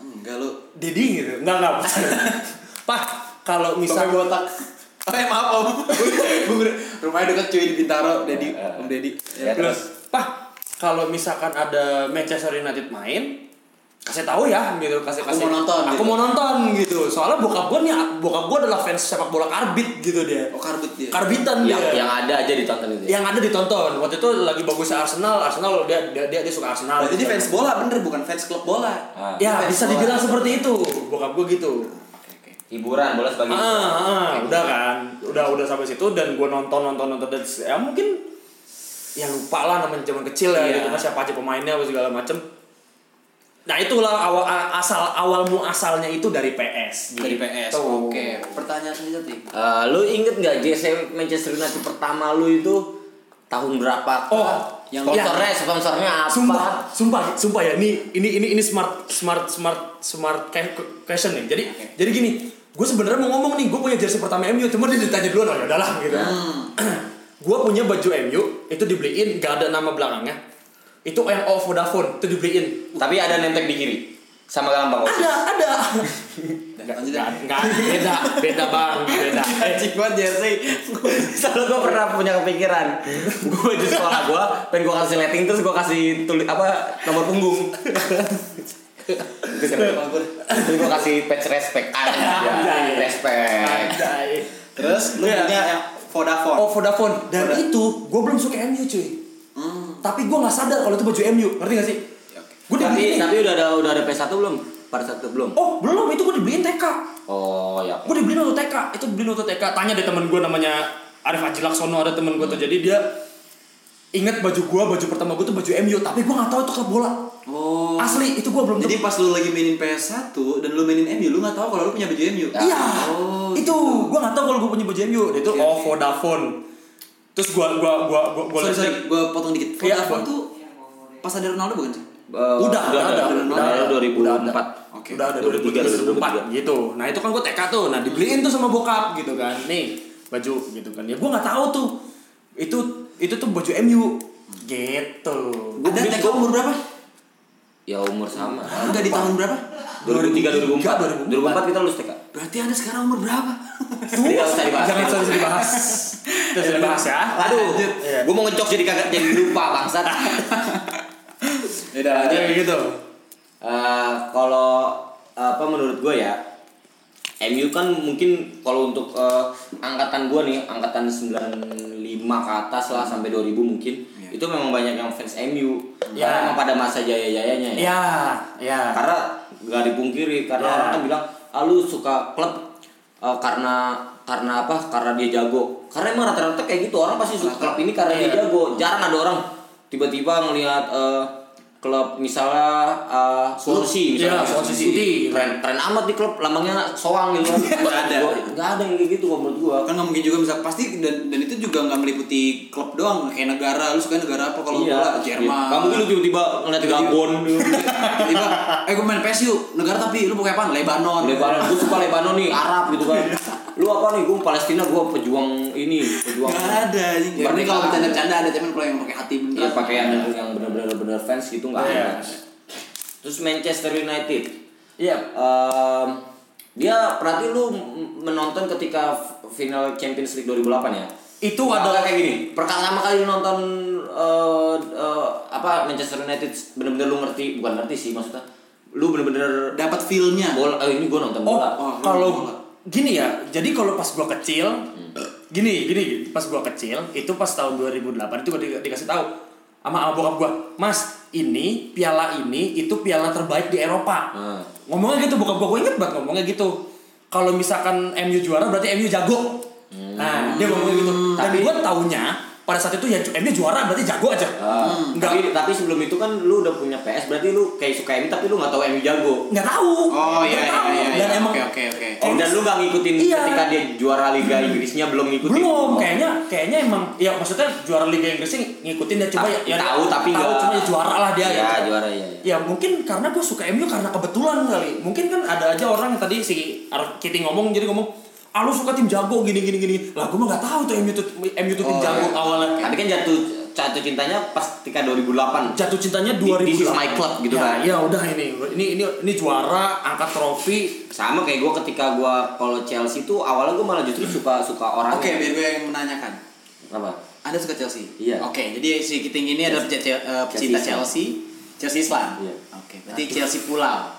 Speaker 3: Enggak lu.
Speaker 1: Dedi gitu. Enggak enggak. Pah, kalau
Speaker 3: Sampai
Speaker 1: misalnya
Speaker 3: botak. Eh maaf om. Gua udah- rumahnya dekat cuy di
Speaker 2: Oh,
Speaker 3: Bintaro, Dedi, Om Dedi.
Speaker 2: Ya,
Speaker 1: Terus, Pak, kalau misalkan ada Manchester United main, kasih tahu ya gitu kasih
Speaker 3: Aku
Speaker 1: kasih
Speaker 3: mau nonton,
Speaker 1: aku
Speaker 3: gitu.
Speaker 1: mau nonton gitu soalnya bokap gue nih bokap gue adalah fans sepak bola karbit gitu dia
Speaker 3: Oh karbut dia.
Speaker 1: karbitan
Speaker 3: Iya,
Speaker 2: Yang,
Speaker 1: dia
Speaker 2: yang ada aja ditonton itu. ya.
Speaker 1: yang ada ditonton waktu itu lagi bagusnya Arsenal Arsenal dia dia dia, dia suka Arsenal
Speaker 3: Berarti dia fans bola bener, bukan fans klub bola.
Speaker 2: Ah,
Speaker 1: ya
Speaker 3: fans
Speaker 1: bisa
Speaker 3: bola.
Speaker 1: dibilang seperti itu bokap gue gitu
Speaker 2: hiburan bola sebagai
Speaker 1: Ah, ah, ah, udah kan, udah udah sampai situ dan gue nonton nonton nonton dan se- ya mungkin ya lupa lah nama zaman kecil ya
Speaker 3: Iya.
Speaker 1: gitu kan siapa aja pemainnya apa segala macem. Nah itulah awal a- asal awal mu asalnya itu dari gitu. PS.
Speaker 3: Dari PS.
Speaker 1: Tuh.
Speaker 3: Oke, pertanyaan selanjutnya. Ting.
Speaker 2: Eh, lu inget nggak GC Manchester United pertama lu itu tahun berapa?
Speaker 1: Oh,
Speaker 2: yang
Speaker 1: yang-
Speaker 2: sponsornya sponsornya apa?
Speaker 1: Sumpah, sumpah, sumpah ya. Ini ini ini ini smart smart smart smart ke- ke- question nih. Jadi jadi gini, gue sebenarnya mau ngomong nih, gue punya jersey pertama MU, cuma dia ditanya duluan, oh ya udahlah gitu. gue punya baju MU itu dibeliin, gak ada nama belakangnya. Itu yang off Vodafone itu dibeliin.
Speaker 2: Tapi ada nemtek di kiri sama gampang kok.
Speaker 1: Ada, ada.
Speaker 3: Dan lanjut.
Speaker 1: Enggak, enggak, beda, beda bang, beda. Eh,
Speaker 3: Anjing banget jersey.
Speaker 2: Soalnya gue pernah punya kepikiran Gue di sekolah gue Pengen gue kasih letting Terus gue kasih tulis apa Nomor punggung Terus gue kasih patch respect Anjay Respect
Speaker 1: anjay.
Speaker 3: Terus lu
Speaker 1: Iya.
Speaker 3: punya yang Vodafone.
Speaker 1: Oh Vodafone dan
Speaker 3: Vodafone.
Speaker 1: itu gue belum suka MU cuy. Tapi gue nggak sadar kalau itu baju MU, ngerti gak sih? Gue
Speaker 2: Tapi
Speaker 1: dibeliin.
Speaker 2: tapi udah ada udah ada P1 belum? Part 1 belum?
Speaker 1: Oh belum, itu gue dibeliin TK.
Speaker 2: Oh ya
Speaker 1: Gue dibeliin waktu TK, itu dibeliin waktu TK. Tanya deh temen gue namanya Arif Haji Laksono ada temen gue tuh jadi dia inget baju gue, baju pertama gue tuh baju MU, tapi gue nggak tahu itu klub bola.
Speaker 3: Oh.
Speaker 1: Asli itu gue belum.
Speaker 3: Jadi pas lu lagi mainin PS1 dan lu mainin MU, lu gak tahu kalau lu punya baju MU.
Speaker 1: Iya.
Speaker 3: Oh,
Speaker 1: itu gue nggak tahu kalau gue punya baju MU. Dia itu
Speaker 3: Oke,
Speaker 1: oh
Speaker 3: oke.
Speaker 1: Vodafone. Terus gue gue gue gue gue
Speaker 3: Sorry, sorry, gue potong dikit.
Speaker 1: Iya,
Speaker 3: Vodafone
Speaker 1: apa?
Speaker 3: tuh pas ada Ronaldo bukan sih?
Speaker 1: Eh, udah, udah ada,
Speaker 2: Udah ada 2004
Speaker 3: Oke.
Speaker 1: Udah ada 2003 2004 gitu. Nah, itu kan gue TK tuh. Nah, dibeliin tuh sama bokap gitu kan. Nih, baju gitu kan. Ya gue nggak tahu tuh. Itu itu tuh baju MU gitu.
Speaker 3: Ada
Speaker 1: Gua-
Speaker 3: TK umur berapa?
Speaker 2: Ya umur sama
Speaker 3: Enggak di tahun berapa?
Speaker 2: 2003 2004 2004 kita lulus TK
Speaker 3: Berarti anda sekarang umur berapa?
Speaker 2: Tidak usah dibahas.
Speaker 1: Jangan usah dibahas. Tidak usah dibahas
Speaker 2: iya.
Speaker 1: ya.
Speaker 2: Aduh,
Speaker 1: Iya.
Speaker 2: gue mau ngecok jadi kagak jadi lupa bangsat.
Speaker 1: Ya,
Speaker 3: Beda aja.
Speaker 1: gitu.
Speaker 2: Eh, kalau apa menurut gue ya MU kan mungkin kalau untuk eh, angkatan gue nih angkatan 95 ke atas lah sampai 2000 mungkin
Speaker 3: Iya.
Speaker 2: itu memang banyak yang fans MU
Speaker 1: Ya.
Speaker 2: karena emang pada masa jaya-jayanya ya
Speaker 1: Ya, ya.
Speaker 2: karena nggak dipungkiri karena
Speaker 1: Ya.
Speaker 2: orang kan bilang ah, lu suka klub eh, karena karena apa karena dia jago karena emang rata-rata kayak gitu orang pasti suka klub ini karena dia jago jarang ada orang tiba-tiba ngelihat eh, klub misalnya eh, Swansea misalnya
Speaker 1: Ya, Swansea City.
Speaker 2: keren keren amat di klub lambangnya soang gitu
Speaker 3: Nggak ada.
Speaker 2: Gua- nggak ada yang kayak gitu kalau menurut gua
Speaker 3: Kan nggak mungkin juga bisa pasti dan dan itu juga nggak meliputi klub doang kayak negara lu suka negara apa kalau
Speaker 2: Iya,
Speaker 3: bola Jerman
Speaker 2: Gak mungkin lu tiba-tiba ngeliat Gabon
Speaker 3: tiba eh gue main PES yuk negara tapi lu pakai apa Lebanon
Speaker 2: Lebanon, gue suka Lebanon nih, Arab gitu kan. Lu apa nih? Gue Palestina, gue pejuang ini, pejuang.
Speaker 3: Gak ada anjing.
Speaker 2: Ya,
Speaker 3: Berarti kalau
Speaker 2: nggak ada.
Speaker 3: bercanda-bercanda ada cuman kalau yang pakai hati bener.
Speaker 2: Iya pakai yang yang benar-benar benar fans gitu nggak
Speaker 1: Iya.
Speaker 2: ada. Terus Manchester United,
Speaker 1: Iya.
Speaker 2: Ehm, dia berarti lu menonton nonton ketika final Champions League 2008 ya.
Speaker 1: Itu
Speaker 2: Nggak,
Speaker 1: ada-
Speaker 2: nggak kayak gini. Pertama kali lu nonton eh, eh, apa Manchester United bener-bener lu ngerti, bukan ngerti sih maksudnya. Lu bener-bener
Speaker 3: dapat feelnya
Speaker 2: bola eh, ini gua nonton
Speaker 1: Oh,
Speaker 2: bola.
Speaker 3: Oh,
Speaker 1: kalau
Speaker 3: bola.
Speaker 1: gini ya. Jadi kalau pas gua kecil,
Speaker 3: Hmm.
Speaker 1: gini gini pas gua kecil itu pas tahun 2008 itu gua di- dikasih tahu sama sama bokap gua, "Mas, ini piala ini itu piala terbaik di Eropa."
Speaker 2: Hmm.
Speaker 1: Ngomongnya gitu bokap gua, gua inget banget ngomongnya gitu. Kalau misalkan MU juara berarti MU jago.
Speaker 3: Hmm.
Speaker 1: Nah, dia ngomongnya gitu. Dan
Speaker 2: Tapi-
Speaker 1: gua taunya pada saat itu ya MU juara berarti jago aja.
Speaker 2: Ah,
Speaker 1: Nggak.
Speaker 2: tapi, tapi sebelum itu kan lu udah punya PS berarti lu kayak suka ini tapi lu nggak tahu MU jago.
Speaker 1: nggak tahu.
Speaker 3: oh
Speaker 1: Nggak
Speaker 3: iya iya
Speaker 1: tahu.
Speaker 3: iya, iya
Speaker 1: Dan emang
Speaker 3: oke oke oke
Speaker 2: Oh, dan lu gak
Speaker 1: Iya.
Speaker 2: ngikutin
Speaker 1: Hmm.
Speaker 2: ketika dia juara Liga Inggrisnya belum ngikutin. Oh,
Speaker 1: belum kayaknya kayaknya emang ya maksudnya juara Liga Inggris sih ngikutin dia cuma
Speaker 2: Ta-
Speaker 1: ya, ya
Speaker 2: tahu, tapi
Speaker 1: tahu
Speaker 2: nggak-
Speaker 1: cuma ya juara lah dia ya,
Speaker 2: ya, juara ya. ya.
Speaker 1: ya mungkin karena gue suka MU karena kebetulan kali mungkin kan ada aja orang yang tadi si Ar- Kitty ngomong jadi ngomong ah lu suka tim jago gini gini gini lah gue mah nggak tahu tuh MU tuh MU tuh tim
Speaker 3: Oh,
Speaker 1: jago
Speaker 3: iya.
Speaker 1: awalnya
Speaker 2: Tapi kan jatuh jatuh cintanya pas ketika 2008.
Speaker 1: jatuh cintanya
Speaker 2: Di-
Speaker 1: 2000
Speaker 2: this is my club gitu
Speaker 1: ya,
Speaker 2: kan.
Speaker 1: ya udah ini ini ini ini juara angkat trofi
Speaker 2: Sama kayak gue ketika gue kalau Chelsea tuh awalnya gue malah justru suka suka orang.
Speaker 3: oke biar gue yang menanyakan
Speaker 2: Apa?
Speaker 3: Anda suka Chelsea?
Speaker 2: Iya.
Speaker 3: Oke, jadi si Kiting ini adalah pecinta, eh, pecinta Chelsea, Chelsea Islam.
Speaker 2: Iya.
Speaker 3: Oke, berarti Chelsea pulau.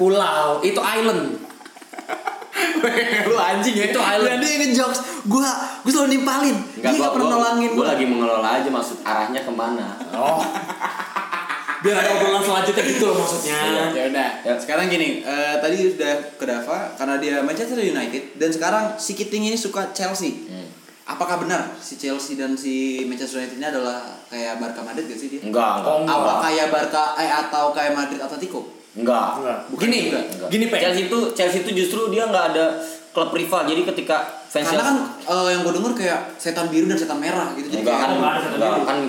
Speaker 1: pulau itu island
Speaker 3: lu anjing ya?
Speaker 1: Itu island.
Speaker 3: Lu
Speaker 2: Iya,
Speaker 3: Anjing yang ngejokes. Gua gua selalu nimpalin.
Speaker 1: Iya,
Speaker 3: Dia enggak pernah nolongin
Speaker 2: Gue lagi mengelola aja maksud arahnya kemana.
Speaker 1: oh biar ada obrolan selanjutnya gitu loh maksudnya
Speaker 3: Ya udah.
Speaker 2: Ya.
Speaker 3: Sekarang gini, eh, tadi udah ke Dava karena dia Manchester United dan sekarang si Kiting ini suka Chelsea.
Speaker 2: Hmm.
Speaker 3: Apakah benar si Chelsea dan si Manchester United ini adalah kayak Barca Madrid gak sih dia?
Speaker 2: Enggak, enggak.
Speaker 1: Oh,
Speaker 3: Apa kayak Barca eh, atau kayak Madrid Atletico?
Speaker 2: Enggak.
Speaker 1: Enggak.
Speaker 3: Bukan
Speaker 1: gini
Speaker 3: juga.
Speaker 2: Enggak. gitu.
Speaker 1: gini Peng.
Speaker 2: Chelsea itu Chelsea itu justru dia nggak ada klub rival. Jadi ketika fans
Speaker 3: Karena kan
Speaker 2: Chelsea-
Speaker 3: eh, yang gue denger kayak setan biru dan setan merah gitu. Jadi
Speaker 2: Enggak kan,
Speaker 1: Enggak ada satu
Speaker 2: enggak
Speaker 1: diri.
Speaker 2: kan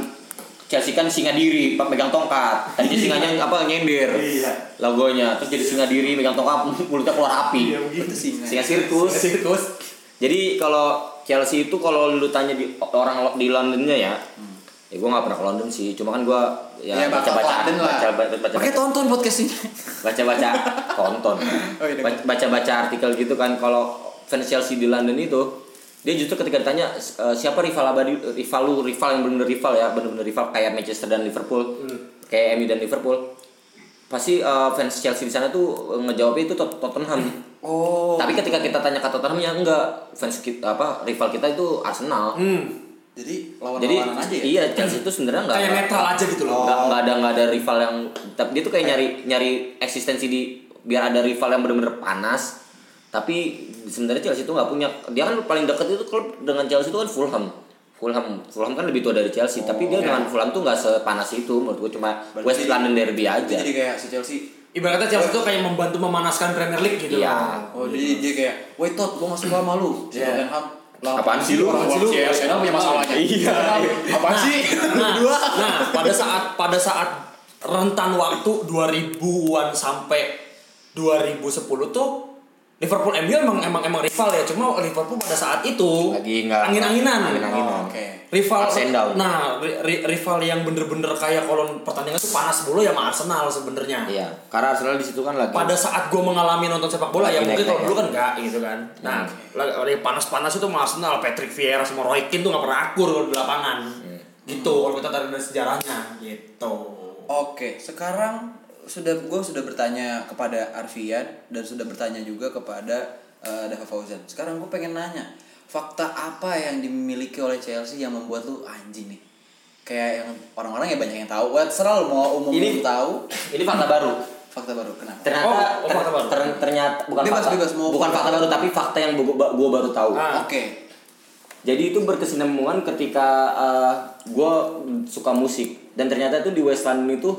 Speaker 2: Chelsea kan singa diri, pe- megang tongkat. Tadinya singanya apa nyender.
Speaker 1: Iya.
Speaker 2: Logonya terus jadi singa diri, megang tongkat, mulutnya keluar api.
Speaker 3: Itu singa.
Speaker 2: Singa sirkus.
Speaker 1: sirkus
Speaker 2: Jadi kalau Chelsea itu kalau lu tanya di orang lo- di Londonnya ya, ya gue nggak pernah ke London sih, cuma kan gue
Speaker 3: Ya,
Speaker 2: ya,
Speaker 3: Hmm. bakal ke
Speaker 2: baca-baca,
Speaker 3: London lah.
Speaker 2: baca-baca,
Speaker 3: Pakai
Speaker 2: baca-baca,
Speaker 3: tonton podcast ini.
Speaker 2: baca-baca, tonton,
Speaker 3: Oh, iya,
Speaker 2: Ba- baca-baca artikel gitu kan kalau fans Chelsea di London itu dia justru ketika ditanya e, siapa rival abadi rival lu rival yang benar-benar rival ya benar-benar rival kayak Manchester dan Liverpool
Speaker 3: Hmm.
Speaker 2: kayak MU dan Liverpool pasti e, fans Chelsea di sana tuh e, ngejawabnya itu Tot- Tottenham
Speaker 3: Oh.
Speaker 2: tapi ketika kita tanya ke Tottenham ya enggak fans kita apa rival kita itu Arsenal.
Speaker 1: hmm.
Speaker 3: Jadi lawan
Speaker 2: Jadi
Speaker 3: lawanan aja ya.
Speaker 2: iya Chelsea itu sebenarnya enggak
Speaker 1: kayak netral aja gitu loh
Speaker 2: enggak enggak ada enggak ada rival yang tapi dia tuh kayak nyari nyari eksistensi di biar ada rival yang benar-benar panas. Tapi sebenarnya Chelsea itu nggak punya dia kan paling dekat itu klub dengan Chelsea itu kan Fulham. Fulham, Fulham kan lebih tua dari Chelsea, tapi
Speaker 1: Oh, iya.
Speaker 2: dia dengan Fulham tuh nggak sepanas itu menurut gue cuma
Speaker 3: Berarti-
Speaker 2: West London Derby
Speaker 3: Itu
Speaker 2: aja.
Speaker 3: jadi kayak si Chelsea.
Speaker 1: ibaratnya Chelsea tuh kayak membantu memanaskan Premier League gitu
Speaker 2: Iya.
Speaker 1: loh.
Speaker 3: Oh, jadi dia kayak, "Woi Tot, gua masih suka sama lu." Si
Speaker 1: Iya.
Speaker 3: Tottenham.
Speaker 2: Apaan sih lu?
Speaker 3: Apaan sih lu?
Speaker 1: Chelsea.
Speaker 3: Arsenal punya masalahnya.
Speaker 2: Iya.
Speaker 3: Apaan sih?
Speaker 1: nah, nah pada saat pada saat rentan waktu 2000-an sampai 2010 tuh Liverpool MU emang emang emang rival ya cuma Liverpool pada saat itu
Speaker 2: Lagi nggak-
Speaker 1: angin-anginan
Speaker 2: angin-anginan.
Speaker 3: Oh, Oke.
Speaker 1: rival
Speaker 2: Ups and down.
Speaker 1: nah ri- ri- rival yang bener-bener kayak kalau pertandingan tuh panas mulu ya sama Arsenal sebenarnya
Speaker 2: Iya, karena Arsenal di situ kan lagi
Speaker 1: pada saat gue mengalami nonton sepak bola ya
Speaker 2: Lagi
Speaker 1: mungkin
Speaker 2: naik-naik
Speaker 1: kalau dulu
Speaker 2: ya.
Speaker 1: kan enggak gitu kan nah lagi yang panas-panas itu sama Arsenal Patrick Vieira sama Roy Keane tuh nggak pernah akur kalau di lapangan gitu kalau kita tarik dari sejarahnya gitu
Speaker 3: Oke, sekarang sudah gua sudah bertanya kepada Arfian dan sudah bertanya juga kepada eh, Dava Fauzan. Sekarang gua pengen nanya, fakta apa yang dimiliki oleh Chelsea yang membuat lu anjing nih? Kayak yang orang-orang ya banyak yang tahu. Wah, serah lu mau umum
Speaker 2: Ini-
Speaker 3: tahu
Speaker 2: ini fakta baru.
Speaker 3: fakta baru. Kenapa?
Speaker 2: ternyata
Speaker 1: Oh, oh, fakta baru.
Speaker 2: ter- ternyata bukan
Speaker 3: Bebas,
Speaker 2: fakta
Speaker 3: bebas, mau
Speaker 2: bukan
Speaker 3: apa.
Speaker 2: fakta baru tapi fakta yang gua, gua baru tahu
Speaker 1: Ah.
Speaker 3: Oke.
Speaker 2: jadi itu berkesinambungan ketika eh, gua suka musik dan ternyata itu di West London itu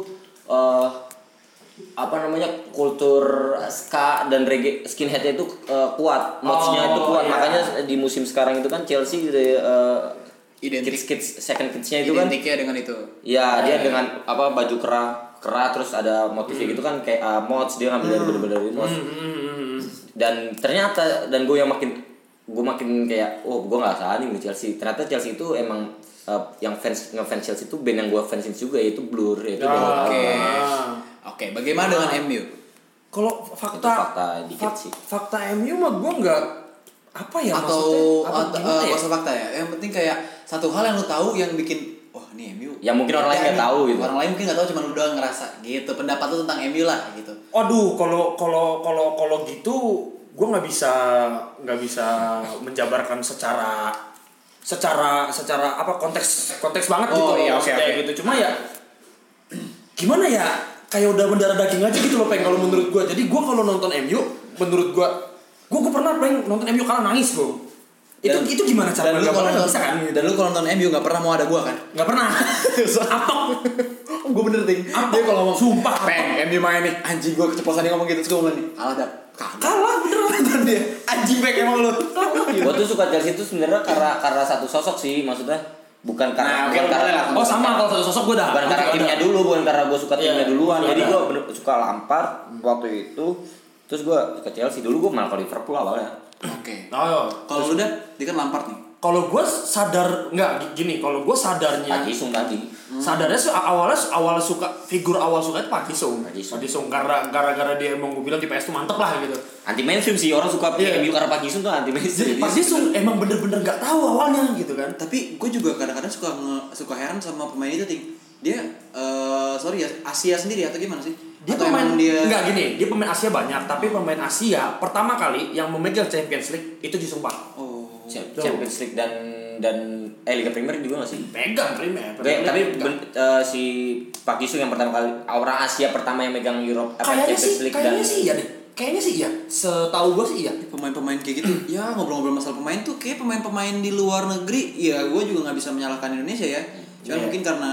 Speaker 2: eh, apa namanya kultur ska dan reggae skinhead itu eh, kuat modsnya itu kuat
Speaker 1: iya.
Speaker 2: makanya di musim sekarang itu kan Chelsea eh,
Speaker 3: Identik.
Speaker 2: kids kids second kidsnya itu kan
Speaker 3: Identiknya dengan itu.
Speaker 2: Ya,
Speaker 3: Iya,
Speaker 2: dia dengan apa baju kerah, kerah terus ada motifnya
Speaker 3: Hmm.
Speaker 2: gitu kan kayak uh, mods dia ngambil dari bener-bener dari mods.
Speaker 3: hmm.
Speaker 2: Dan ternyata dan gue yang makin gue makin kayak oh gue nggak salah nih sama Chelsea ternyata Chelsea itu emang uh, yang fans ngefans Chelsea itu band yang gue fansin juga yaitu Blur yaitu
Speaker 1: Ah.
Speaker 3: Oke.
Speaker 1: Ah.
Speaker 3: Oke, bagaimana dengan MU?
Speaker 1: kalau fakta
Speaker 2: fakta dikit
Speaker 1: fak-
Speaker 2: sih.
Speaker 1: fakta MU mah gue nggak apa ya
Speaker 3: atau
Speaker 1: maksudnya? Apa
Speaker 3: atau
Speaker 1: gimana
Speaker 3: eh,
Speaker 1: ya?
Speaker 3: kosa fakta ya yang penting kayak satu hal yang lu tahu yang bikin wah ini MU
Speaker 2: Yang mungkin orang lain
Speaker 3: beda
Speaker 2: nggak
Speaker 3: nih.
Speaker 2: tahu gitu.
Speaker 3: orang lain mungkin nggak tahu cuman lu doang ngerasa gitu pendapat lu tentang MU lah gitu
Speaker 1: Aduh, kalau kalau kalau kalau gitu, gue nggak bisa nggak bisa menjabarkan secara secara secara apa konteks konteks banget gitu
Speaker 3: Oh, iya,
Speaker 1: maksudnya
Speaker 3: oke, oke.
Speaker 1: gitu. Cuma ya gimana ya kayak udah mendarah daging aja gitu loh peng kalau menurut gue. Jadi gue kalau nonton MU, menurut gue, gue gue pernah peng nonton MU kalah nangis gue. Itu
Speaker 3: Dan-
Speaker 1: itu gimana cara
Speaker 3: dan lu
Speaker 1: menggambarkan?
Speaker 3: kalau
Speaker 1: Nggak
Speaker 3: nonton
Speaker 1: bisa kan?
Speaker 3: dan lu kalau nonton MU nggak pernah mau ada gua kan
Speaker 1: Nggak pernah. Apok.
Speaker 3: gue bener ting
Speaker 1: Apa?
Speaker 3: dia kalau ngomong
Speaker 1: Sumpah, apa?
Speaker 3: peng MU main nih anjing gue keceplosan dia ngomong gitu terus gue ngomong nih kalah dap kalah
Speaker 1: Kalah beneran.
Speaker 3: Nonton dia anjing peng emang lu
Speaker 2: Gua tuh suka Chelsea tuh sebenarnya karena karena satu sosok sih maksudnya bukan
Speaker 3: Nah,
Speaker 2: karena
Speaker 3: oke,
Speaker 2: bukan
Speaker 3: boleh
Speaker 2: karena
Speaker 3: lah.
Speaker 1: Oh sama kalau satu sosok gue dah.
Speaker 2: bukan karena
Speaker 1: Udah.
Speaker 2: timnya dulu bukan karena gue suka timnya
Speaker 1: Iya,
Speaker 2: duluan
Speaker 1: iya,
Speaker 2: jadi
Speaker 1: iya.
Speaker 2: gue suka lampar waktu itu terus gue ke Chelsea dulu gue malah ke Liverpool awalnya
Speaker 3: oke
Speaker 1: Oh,
Speaker 3: kalau lu udah dia kan lampar nih
Speaker 1: kalau gue sadar nggak gini, kalau gue sadarnya
Speaker 2: Haji Sung tadi
Speaker 1: sadarnya su- awalnya su- awal suka figur awal suka itu Pak Kisung.
Speaker 2: Pak Jisung.
Speaker 1: Pak Jisung karena gara-gara dia emang gue bilang di PS tuh mantep lah gitu.
Speaker 2: anti mainstream sih orang suka
Speaker 1: Iya.
Speaker 2: MU karena Pak Sung tuh anti mainstream
Speaker 1: Pak Jisung emang bener-bener nggak tahu awalnya gitu kan.
Speaker 3: tapi gue juga kadang-kadang suka nge- suka heran sama pemain itu ting dia eh, sorry ya Asia sendiri atau gimana sih
Speaker 1: Dia
Speaker 3: atau
Speaker 1: pemain
Speaker 3: emang dia
Speaker 1: nggak gini, dia pemain Asia banyak, tapi pemain Asia pertama kali yang memegang Champions League itu Jisung Pak.
Speaker 3: oh
Speaker 2: Champions League dan dan eh Liga Premier juga gak sih
Speaker 1: Pegang primer.
Speaker 2: Kayak- tapi ben- eh, si Pak Jisung yang pertama kali orang Asia pertama yang megang Europe apa,
Speaker 1: kayaknya
Speaker 2: Champions
Speaker 1: sih,
Speaker 2: League
Speaker 1: kayaknya
Speaker 2: dan
Speaker 1: sih iya deh. Kayaknya sih iya. Setahu gue sih iya.
Speaker 3: pemain-pemain kayak gitu ya ngobrol-ngobrol masalah pemain tuh kayak pemain-pemain di luar negeri ya gue juga nggak bisa menyalahkan Indonesia ya cuman
Speaker 1: Iya.
Speaker 3: mungkin karena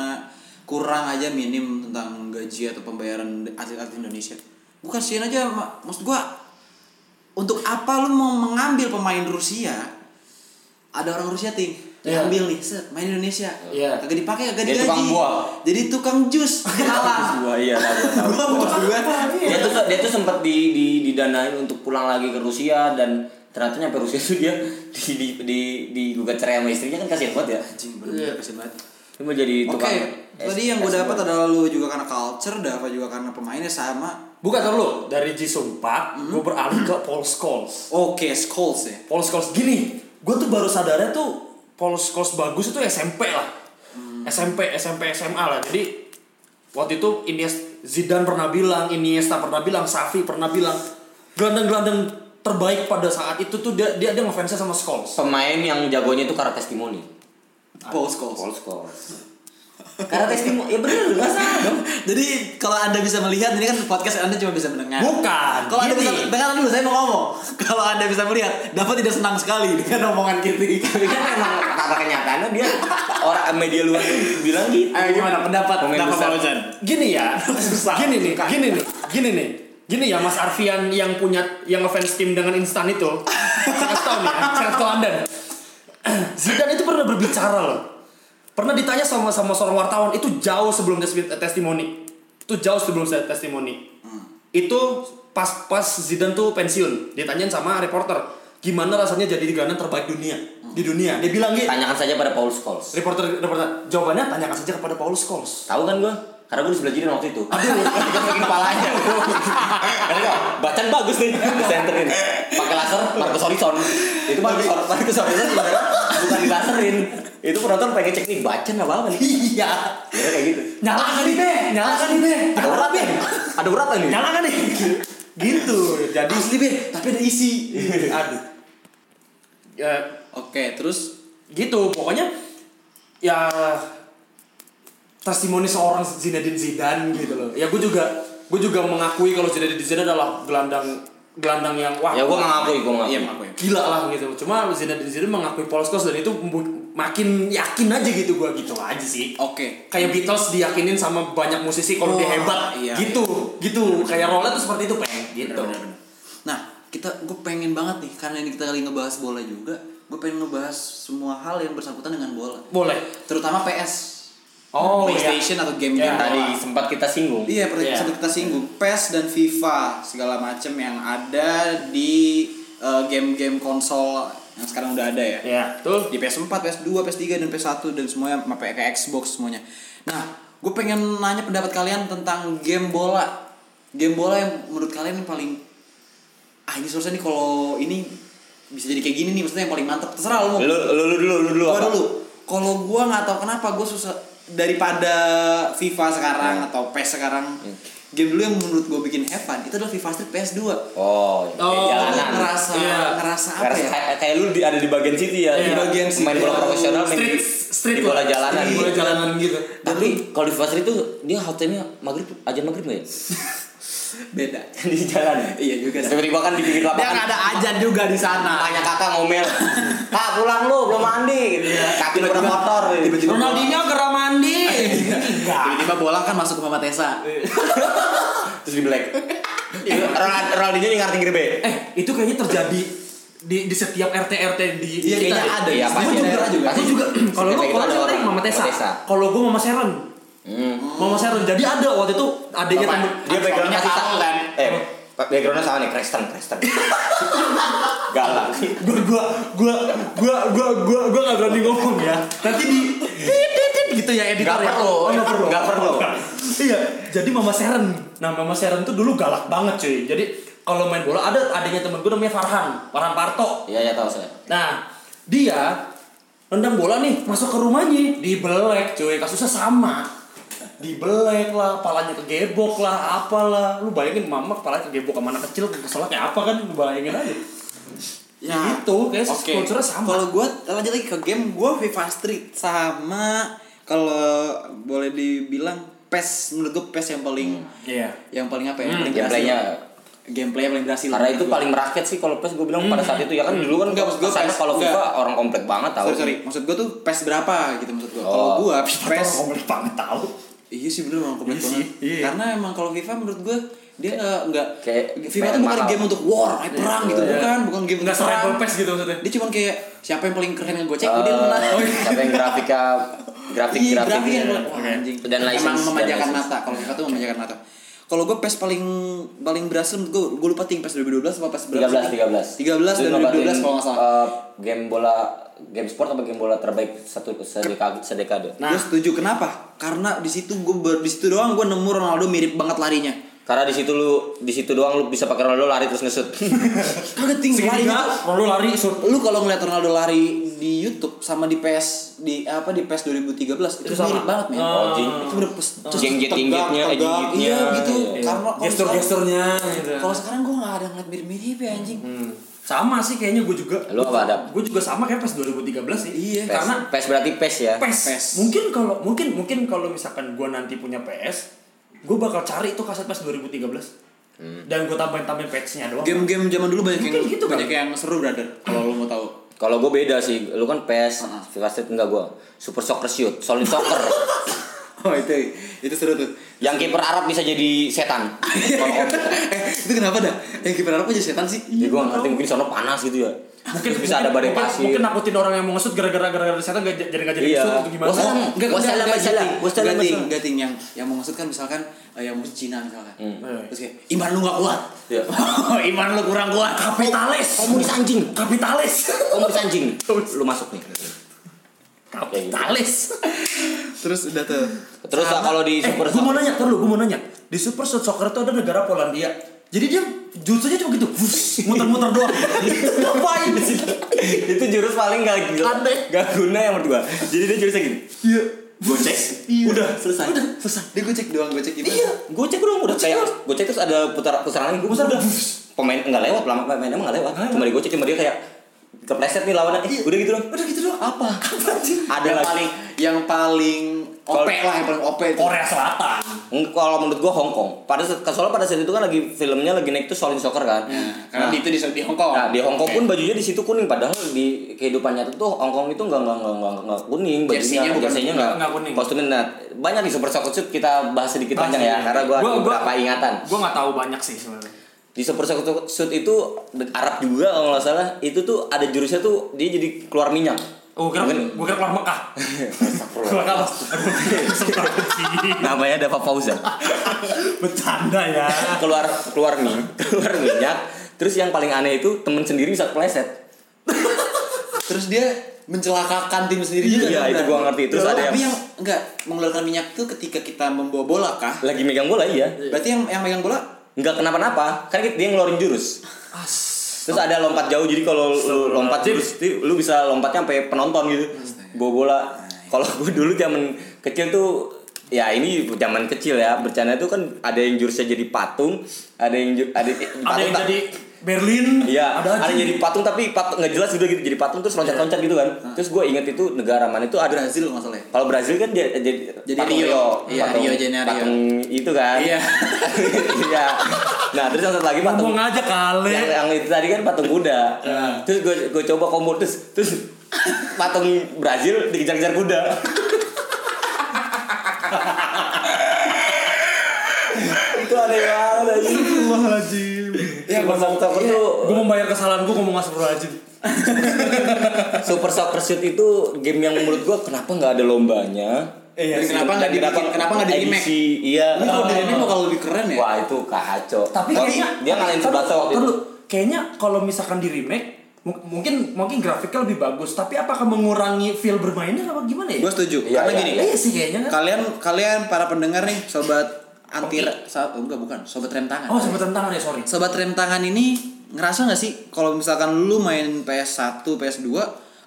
Speaker 3: kurang aja minim tentang gaji atau pembayaran atlet-atlet Indonesia gue kasihan aja Ma. maksud gue untuk apa lu mau mengambil pemain Rusia ada orang Rusia ting
Speaker 1: Iya.
Speaker 3: diambil nih set main Indonesia
Speaker 1: Iya.
Speaker 3: kagak dipakai kagak
Speaker 2: Jadi
Speaker 3: digaji
Speaker 2: tukang buah.
Speaker 3: jadi tukang jus kalah
Speaker 2: Gua iya tahu, gua tahu. dia tuh dia tuh sempat di, di didanain untuk pulang lagi ke Rusia dan ternyata nyampe Rusia tuh dia di di di, di gugat cerai sama istrinya kan kasihan banget ya
Speaker 3: anjing bener kasihan banget
Speaker 2: dia mau jadi
Speaker 3: Oke,
Speaker 2: tukang es-
Speaker 3: tadi yang gue
Speaker 2: es
Speaker 3: dapat
Speaker 2: buah.
Speaker 3: adalah lu juga karena culture, Dava juga karena pemainnya sama.
Speaker 1: Bukan dulu dari Jisung Park,
Speaker 2: Hmm?
Speaker 1: gue beralih ke Paul Scholes.
Speaker 3: Oke, Scholes ya.
Speaker 1: Paul Scholes gini, gue tuh baru sadarnya tuh Paul Scholes bagus itu SMP lah,
Speaker 2: Hmm.
Speaker 1: SMP SMP SMA lah. Jadi waktu itu Iniesta, Zidane pernah bilang, Iniesta pernah bilang, Xavi pernah bilang, gelandang-gelandang terbaik pada saat itu tuh dia dia dia ngefansnya sama Scholes.
Speaker 2: pemain yang jagonya itu karena testimoni
Speaker 3: Paul Scholes.
Speaker 2: Paul Ah, Scholes karena testimoni ya bener nggak salah dong
Speaker 3: Jadi kalau anda bisa melihat ini kan podcast anda cuma bisa mendengar.
Speaker 1: Bukan.
Speaker 3: Kalau anda bisa
Speaker 1: gini.
Speaker 3: dengar dulu, saya mau ngomong. Kalau anda bisa melihat, Dava tidak senang sekali dengan omongan Kitty.
Speaker 2: tapi kan emang kata kenyataannya dia orang media luar tuh bilang gitu
Speaker 3: Ayo gimana pendapat
Speaker 2: Pemain
Speaker 3: Dava
Speaker 2: besar.
Speaker 3: Balojan?
Speaker 1: Gini ya, gini nih, gini nih, gini nih. Gini ya Mas Arfian yang punya yang ngefans tim dengan instan itu. Saya kasih tahu nih ya, saya kasih tahu Anda. nih. Zidane itu pernah berbicara loh. Pernah ditanya sama sama seorang wartawan itu jauh sebelum tes- testimoni. Itu jauh sebelum saya testimoni. Itu pas-pas Zidane tuh pensiun. Ditanyain sama reporter, gimana rasanya jadi gelandang terbaik dunia di dunia. Dia bilang gitu.
Speaker 2: tanyakan saja pada Paul Scholes
Speaker 1: Reporter reporter jawabannya tanyakan saja kepada Paul Scholes.
Speaker 2: Tahu kan gua? Karena gua di sebelah kiri waktu itu. Aduh, bikin palanya. Karena gua, bacaan bagus nih, di senterin. Pakai laser Marcus Horizon. Itu Marcus Horizon, Marcus Horizon sebenarnya bukan dilaserin. Itu penonton pengen cek nih bacaan apa apa nih.
Speaker 1: Iya.
Speaker 2: Kira kayak gitu.
Speaker 1: Nyala kan nih, Be? Nyala kan nih, Be?
Speaker 2: Ada urat nih. Ada urat nih.
Speaker 1: Nyala kan nih? Gitu. Jadi
Speaker 3: Asli be, tapi ada isi.
Speaker 1: aduh. Ya,
Speaker 3: Oke, terus
Speaker 1: gitu pokoknya ya testimoni seorang Zinedine Zidane gitu loh. Ya gue juga gue juga mengakui kalau Zinedine Zidane adalah gelandang gelandang yang wah.
Speaker 2: Ya gua enggak ngakui, gua enggak.
Speaker 3: iya
Speaker 2: ngakui.
Speaker 3: aku ya.
Speaker 1: gila lah gitu. Cuma Zinedine Zidane mengakui Paul Scholes dan itu membu- makin yakin aja gitu gua gitu aja sih.
Speaker 3: Oke,
Speaker 1: kayak Beatles diyakinin sama banyak musisi kalau dia
Speaker 3: Wah,
Speaker 1: hebat
Speaker 3: iya.
Speaker 1: gitu gitu kayak Rola tuh seperti itu peng gitu
Speaker 3: Nah, kita gue pengen banget nih karena ini kita lagi ngebahas bola juga. Gue pengen ngebahas semua hal yang bersangkutan dengan bola,
Speaker 1: boleh
Speaker 3: terutama PS,
Speaker 1: oh iya
Speaker 3: PlayStation atau game-game
Speaker 1: Iya,
Speaker 3: bola.
Speaker 2: Tadi sempat kita singgung.
Speaker 3: Iya, pernah
Speaker 1: Iya.
Speaker 3: sempat kita singgung PES dan FIFA segala macem yang ada di eh, game-game konsol yang sekarang udah ada ya.
Speaker 1: ya tuh
Speaker 3: Di PS4, PS2, PS3 dan PS1 dan semuanya sampai ke Xbox semuanya. Nah, gue pengen nanya pendapat kalian tentang game bola. Game bola yang menurut kalian yang paling ah ini susah nih kalau ini bisa jadi kayak gini nih maksudnya yang paling mantap terserah lu mau
Speaker 5: Lu lu lu dulu lu dulu
Speaker 3: gua
Speaker 5: apa?
Speaker 3: dulu kalau gua nggak tahu kenapa gua susah daripada FIFA sekarang atau PES sekarang game dulu yang menurut gua bikin have fun itu adalah FIFA Street PS2
Speaker 5: Oh, yang kayak
Speaker 2: Oh,
Speaker 3: Gua
Speaker 5: jalanan.
Speaker 3: ngerasa ya?
Speaker 5: Iya.
Speaker 3: ngerasa apa
Speaker 5: Karena
Speaker 3: ya
Speaker 5: kayak, kayak lu di, ada di bagian city ya,
Speaker 3: Di
Speaker 5: Iya.
Speaker 3: bagian city.
Speaker 5: main bola
Speaker 3: Iya.
Speaker 5: profesional, main
Speaker 1: street
Speaker 5: di-
Speaker 1: street
Speaker 5: di bola
Speaker 1: lah.
Speaker 5: jalanan.
Speaker 1: Di bola jalanan gitu
Speaker 2: Tapi kalau di Fasri itu dia haltenya maghrib, aja maghrib nggak ya?
Speaker 3: beda
Speaker 5: di jalan.
Speaker 3: iya juga sih
Speaker 2: Tiba-tiba kan dipikir
Speaker 3: dia
Speaker 2: lapangan.
Speaker 3: nggak ada ajan juga di sana
Speaker 2: Tanya kakak ngomel, kak pulang lu belum mandi, gitu. kaki lu pernah kotor. gitu.
Speaker 3: Iya. tiba-tiba bola,
Speaker 1: Ronaldinho gerak mandi
Speaker 3: tiba-tiba bola kan masuk ke Mama Tessa Iya.
Speaker 5: Terus di black.
Speaker 2: Eh, Ronald- Ronaldinho yang ngerti gribe.
Speaker 1: eh itu kayaknya terjadi di di setiap RT RT di
Speaker 3: Iya,
Speaker 1: di-
Speaker 3: kita ada. Iya,
Speaker 1: Gua
Speaker 2: pasti
Speaker 1: juga,
Speaker 2: ada juga.
Speaker 1: gua juga. kalau lu
Speaker 2: Setiap kayak
Speaker 1: kalau
Speaker 2: gitu
Speaker 1: lu
Speaker 2: ada
Speaker 1: tadi
Speaker 2: orang.
Speaker 1: Mama Tessa
Speaker 2: Mama Tessa.
Speaker 1: kalau gua Mama Sharon
Speaker 2: Hmm.
Speaker 1: Mama Sharon jadi ada waktu itu adanya
Speaker 2: Bapak-
Speaker 1: temen
Speaker 5: Dia backgroundnya
Speaker 2: Suaminya
Speaker 5: sama
Speaker 2: tahu
Speaker 5: kan? Eh, backgroundnya sama nih, Kristen, Kristen. Galak.
Speaker 1: gua gua gua gua gua gua gua nggak berani ngomong ya nanti di tit, tit, tit gitu ya editor
Speaker 2: Nggak
Speaker 1: ya
Speaker 2: perlu.
Speaker 1: Oh, nggak perlu
Speaker 2: Nggak perlu.
Speaker 1: iya jadi mama Sharon nah mama Sharon tuh dulu galak banget cuy jadi kalau main bola ada adanya temen gue namanya Farhan Farhan Parto
Speaker 2: Iya, iya tahu saya.
Speaker 1: nah dia nendang bola nih masuk ke rumahnya dibelek cuy kasusnya sama dibelek lah palanya kegebok lah apalah lu bayangin mama kepalanya kegebok sama anak kecil keselnya kayak apa kan lu bayangin aja
Speaker 3: ya
Speaker 2: Nah,
Speaker 1: gitu kayak
Speaker 3: Oke.
Speaker 1: sponsornya sama
Speaker 3: Kalau gue lanjut lagi ke game gue FIFA Street sama kalau boleh dibilang PES menurut gue PES yang paling
Speaker 1: Iya.
Speaker 3: yang paling apa ya? yang paling
Speaker 2: Hmm, gameplaynya.
Speaker 3: berhasil. Gameplay yang paling berhasil.
Speaker 2: Karena itu paling merakyat sih kalau PES gue bilang pada saat itu ya kan dulu kan
Speaker 3: Enggak, maksud gua
Speaker 2: kesannya
Speaker 3: PES,
Speaker 2: kalau
Speaker 3: enggak.
Speaker 2: FIFA orang komplek banget tahu.
Speaker 3: Sorry, sorry. Maksud gue tuh PES berapa gitu maksud gue.
Speaker 2: Oh.
Speaker 3: Kalau gue PES
Speaker 1: komplek banget tahu.
Speaker 3: Iya sih bener emang komplit
Speaker 1: Iya sih,
Speaker 3: banget.
Speaker 1: iya.
Speaker 3: Karena emang kalau FIFA menurut gue dia nggak nggak
Speaker 2: kayak
Speaker 3: FIFA tuh
Speaker 2: main
Speaker 3: bukan
Speaker 2: mahal.
Speaker 3: game untuk war, kayak perang gitu
Speaker 1: Iya.
Speaker 3: bukan, bukan game
Speaker 1: Enggak
Speaker 3: untuk
Speaker 1: serempel
Speaker 3: perang.
Speaker 1: pes gitu maksudnya.
Speaker 3: Dia cuman kayak siapa yang paling keren yang gue cek,
Speaker 2: Eh,
Speaker 3: oh, dia menang.
Speaker 1: iya.
Speaker 2: Siapa yang grafika grafik
Speaker 3: Iya,
Speaker 2: grafik
Speaker 3: grafik yang
Speaker 2: gitu.
Speaker 3: wah, anjing.
Speaker 2: dan license
Speaker 3: emang
Speaker 2: dan
Speaker 3: memanjakan
Speaker 2: license.
Speaker 3: mata. Kalau FIFA tuh memanjakan mata. Kalau gue PES paling paling berhasil menurut gue gue lupa ting PES 2012 apa PES berapa?
Speaker 2: 13
Speaker 3: sih?
Speaker 2: 13
Speaker 3: 13 dan
Speaker 2: Lu
Speaker 3: 2012 kalau nggak
Speaker 2: nyobain,
Speaker 3: salah.
Speaker 2: eh, game bola game sport apa game bola terbaik satu sedekade sedekade
Speaker 3: Nah. Gue setuju kenapa? Karena di situ gue ber- di situ doang gue nemu Ronaldo mirip banget larinya.
Speaker 2: karena di situ lu di situ doang lu bisa pakai Ronaldo lari terus ngesut
Speaker 3: Kaget ting larinya
Speaker 1: Segitiga,
Speaker 3: tuh
Speaker 1: lalu lari sur.
Speaker 3: lu kalau ngeliat Ronaldo lari di YouTube sama di PS di eh, apa di PS 2013 itu,
Speaker 1: Itu sama.
Speaker 3: mirip banget men.
Speaker 1: Oh,
Speaker 2: jing.
Speaker 3: Itu bener pes. terus
Speaker 2: Jengjet- jengjitnya,
Speaker 3: tegak, tegak.
Speaker 2: jengjitnya.
Speaker 3: Iya gitu.
Speaker 2: Iya.
Speaker 3: Karena kalau sekarang-
Speaker 1: Gestur-gesturnya gitu.
Speaker 3: Kalau sekarang gue gak ada ngeliat mirip-mirip ya anjing.
Speaker 1: Hmm. Sama sih kayaknya gue juga.
Speaker 2: Lu apa, Dap?
Speaker 1: Gue juga sama kayak pas 2013 sih.
Speaker 3: Iya.
Speaker 2: pes,
Speaker 1: Karena
Speaker 2: pes berarti pes ya
Speaker 1: PES.
Speaker 3: PES.
Speaker 1: Mungkin kalau mungkin mungkin kalau misalkan gue nanti punya PS, gue bakal cari itu kaset PES 2013.
Speaker 2: Hmm.
Speaker 1: Dan gue tambahin tambahin patchnya doang.
Speaker 3: Game-game zaman dulu banyak yang
Speaker 1: Mungkin gitu,
Speaker 3: banyak yang seru brother. Kalau lu mau tahu.
Speaker 2: kalau gue beda sih lu kan pes FIFA Street enggak gue Super Soccer Shoot Solid Soccer
Speaker 3: Oh itu itu seru tuh.
Speaker 2: yang kiper Arab bisa jadi setan kalau komplek.
Speaker 3: eh, itu kenapa dah? Eh kiper Arab aja setan sih.
Speaker 2: ya gue ngerti mungkin sono panas gitu ya
Speaker 1: Mungkin
Speaker 2: Terus bisa ada badai
Speaker 1: mungkin-
Speaker 2: pasir
Speaker 1: Mungkin nakutin orang yang mau ngesut gara-gara gara-gara setan nggak j- jadi nggak jadi
Speaker 2: Iya.
Speaker 1: ngesut atau gimana?
Speaker 2: Wassalam.
Speaker 3: Enggak,
Speaker 2: Wassalam,
Speaker 3: enggak, enggak,
Speaker 2: wassalam,
Speaker 3: ting.
Speaker 2: wassalam,
Speaker 3: Enggak, ting,
Speaker 2: wassalam.
Speaker 3: enggak, ting. yang yang maksud kan misalkan eh, yang maksud Cina misalkan.
Speaker 1: Hmm.
Speaker 3: Terus kayak iman lu gak kuat.
Speaker 2: Iya.
Speaker 1: Oh,
Speaker 3: iman lu kurang kuat.
Speaker 1: Kapitalis.
Speaker 2: komunis anjing
Speaker 1: Kapitalis.
Speaker 2: komunis anjing lu masuk nih
Speaker 1: Kapitalis.
Speaker 3: Terus udah tuh.
Speaker 2: terus ah, kalau di
Speaker 1: eh,
Speaker 2: Super
Speaker 1: gue mau
Speaker 2: Soccer
Speaker 1: nanya, terus gue mau nanya. Di Super Shot Soccer itu ada negara Polandia. Jadi dia jutsunya cuma gitu, wush, muter-muter doang. Ngapain sih?
Speaker 2: itu jurus paling gak gila
Speaker 1: Aneh.
Speaker 2: gak guna yang menurut gua jadi dia jurusnya gini
Speaker 1: Iya.
Speaker 2: gue cek
Speaker 1: Udah
Speaker 3: Selesai.
Speaker 1: Udah selesai.
Speaker 3: Dia gue cek doang, gue cek iman.
Speaker 2: iya gue cek dong udah kayak gue cek terus ada putar putaran lagi gue
Speaker 1: Putar.
Speaker 2: udah pemain nggak lewat lama pemain emang nggak lewat cuma di gue cek cuma dia kayak kepleset nih lawannya eh, udah gitu dong
Speaker 1: Udah gitu doang. Apa? Apa sih?
Speaker 2: ada
Speaker 3: Yang
Speaker 2: lagi
Speaker 3: paling yang paling
Speaker 2: Kalau-
Speaker 3: OP lah, yang paling OP itu.
Speaker 1: Korea Selatan.
Speaker 2: Eng- kalau menurut gue Hong Kong pada saat- soalnya pada saat itu kan lagi filmnya lagi naik tuh Solin Soccer kan
Speaker 1: Hmm.
Speaker 3: Karena
Speaker 2: Nah,
Speaker 3: itu di di Hong Kong.
Speaker 2: Nah, di Hongkong pun bajunya di situ kuning padahal di kehidupan nyata tuh Hongkong itu enggak enggak enggak enggak, enggak kuning bajunya,
Speaker 3: Jersinya bukan-
Speaker 2: jerseynya enggak,
Speaker 1: enggak kuning.
Speaker 2: Kostumnya nah, banyak di Super Soccer Shoot kita bahas sedikit
Speaker 1: Bahas
Speaker 2: panjang ya
Speaker 1: sedikit.
Speaker 2: karena gua,
Speaker 1: Gua-
Speaker 2: ada
Speaker 1: gua-
Speaker 2: beberapa ingatan.
Speaker 1: Gue nggak tahu banyak sih sebenarnya.
Speaker 2: Di Super Soccer Shoot itu Arab juga kalau nggak salah itu tuh ada jurusnya tuh dia jadi keluar minyak.
Speaker 1: Oh, kira
Speaker 2: Mungkin-
Speaker 1: gue kira keluar Mekah. Keluar Mekah. Aduh, sempat sih.
Speaker 2: namanya Dava Fauzan.
Speaker 1: Bercanda ya.
Speaker 2: keluar keluar minyak, keluar minyak. Terus yang paling aneh itu temen sendiri bisa kepleset.
Speaker 3: Terus dia mencelakakan tim sendiri juga.
Speaker 2: Iya,
Speaker 3: kan,
Speaker 2: itu
Speaker 3: Bran?
Speaker 2: gua ngerti. Terus
Speaker 3: Loh,
Speaker 2: ada yang-
Speaker 3: tapi yang enggak mengeluarkan minyak tuh ketika kita membawa bola kah?
Speaker 2: Lagi megang bola iya.
Speaker 3: Berarti yang yang megang bola
Speaker 2: Enggak kenapa-napa, kan dia ngeluarin jurus.
Speaker 1: As.
Speaker 2: Terus ada lompat jauh jadi kalau lu lompat terus ti- lu bisa lompatnya sampai penonton gitu. Bawa bola. Kalau gue dulu zaman kecil tuh ya ini zaman kecil ya bercanda tuh kan ada yang jurusnya jadi patung, ada yang ju- ada,
Speaker 1: Ada yang jadi Berlin,
Speaker 2: Iya,
Speaker 1: ada
Speaker 2: ada,
Speaker 1: aja.
Speaker 2: yang jadi patung tapi pat, nggak jelas udah gitu jadi patung terus loncat-loncat gitu kan.
Speaker 1: Iya.
Speaker 2: Terus gue inget itu negara mana itu ada
Speaker 3: Brazil nggak salah ya?
Speaker 2: kalau Brazil kan jadi jadi,
Speaker 3: Jadi
Speaker 2: patung
Speaker 3: Rio. Iya,
Speaker 2: patung,
Speaker 3: Rio Janeiro.
Speaker 2: patung itu kan.
Speaker 3: Iya.
Speaker 2: Iya. nah, terus yang satu lagi patung
Speaker 1: Ngomong aja kali.
Speaker 2: yang, yang itu tadi kan patung kuda
Speaker 3: Iya.
Speaker 2: terus gue gue coba kombo terus terus patung Brazil dikejar-kejar kuda itu aneh banget anjing.
Speaker 1: Astagfirullahaladzim.
Speaker 3: Iya,
Speaker 2: ya gue sangka tuh
Speaker 1: Gue membayar kesalahan gue ngomong astagfirullahaladzim.
Speaker 2: Super Soccer Shoot itu game yang menurut gue kenapa nggak ada lombanya
Speaker 3: Iya, kenapa nggak
Speaker 2: Dan
Speaker 3: dibikin? Kenapa nggak di remake?
Speaker 2: edisi, iya
Speaker 3: Ini kalau di remake bakal lebih keren ya.
Speaker 2: wah itu kacau
Speaker 1: Tapi
Speaker 2: Wah,
Speaker 1: kayaknya
Speaker 2: dia ngalahin
Speaker 1: Tunggu,
Speaker 2: Tsubasa waktu itu
Speaker 1: tunggu. Kayaknya kalau misalkan di remake mu- mungkin mungkin grafiknya lebih bagus, tapi apakah mengurangi feel bermainnya apa gimana ya?
Speaker 3: Gue setuju.
Speaker 2: Iya,
Speaker 3: Karena
Speaker 2: iya,
Speaker 3: gini,
Speaker 2: iya.
Speaker 1: Iya sih kayaknya kan.
Speaker 3: kalian kalian para pendengar nih, sobat anti sa- oh, enggak bukan, sobat rem tangan.
Speaker 1: Oh, sempat tantangan ya, sorry.
Speaker 3: Sobat rem tangan ini ngerasa nggak sih kalau misalkan lu main PS1, PS2,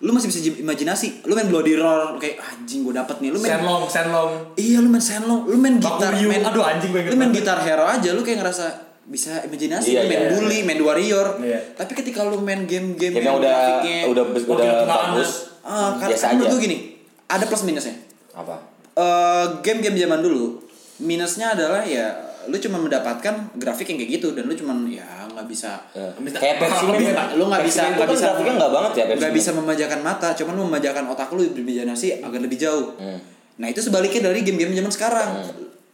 Speaker 3: lu masih bisa j- imajinasi. Lu main Bloody Roar kayak anjing gue dapet nih. Lu main
Speaker 1: Senlong, senlong.
Speaker 3: Iya lu main Senlong, lu main gitar,
Speaker 1: Bakuyu.
Speaker 3: main
Speaker 1: Aduh, anjing, gue inget
Speaker 3: Lu main
Speaker 1: banget.
Speaker 3: gitar hero aja lu kayak ngerasa bisa imajinasi,
Speaker 2: Iya,
Speaker 3: lu main
Speaker 2: iya,
Speaker 3: bully, main warrior.
Speaker 1: Iya.
Speaker 3: Tapi ketika lu main game-game
Speaker 2: game yang udah
Speaker 3: grafiknya,
Speaker 2: udah
Speaker 1: Oh,
Speaker 2: udah
Speaker 1: gila, tenang,
Speaker 2: bagus
Speaker 3: ah, karena
Speaker 2: biasa aja
Speaker 3: menurut gue gini, ada plus minusnya.
Speaker 2: apa
Speaker 3: Eh, game-game zaman dulu minusnya adalah ya lu cuma mendapatkan grafik yang kayak gitu dan lu cuma ya nggak bisa
Speaker 2: Eh, kayak Pepsi Man
Speaker 3: lu nggak bisa
Speaker 2: nggak bisa grafiknya nggak banget ya Pepsi
Speaker 3: nggak
Speaker 2: Man.
Speaker 3: bisa memajakan mata cuman memajakan otak lu berimajinasi agar lebih jauh
Speaker 2: Hmm.
Speaker 3: nah itu sebaliknya dari game-game zaman sekarang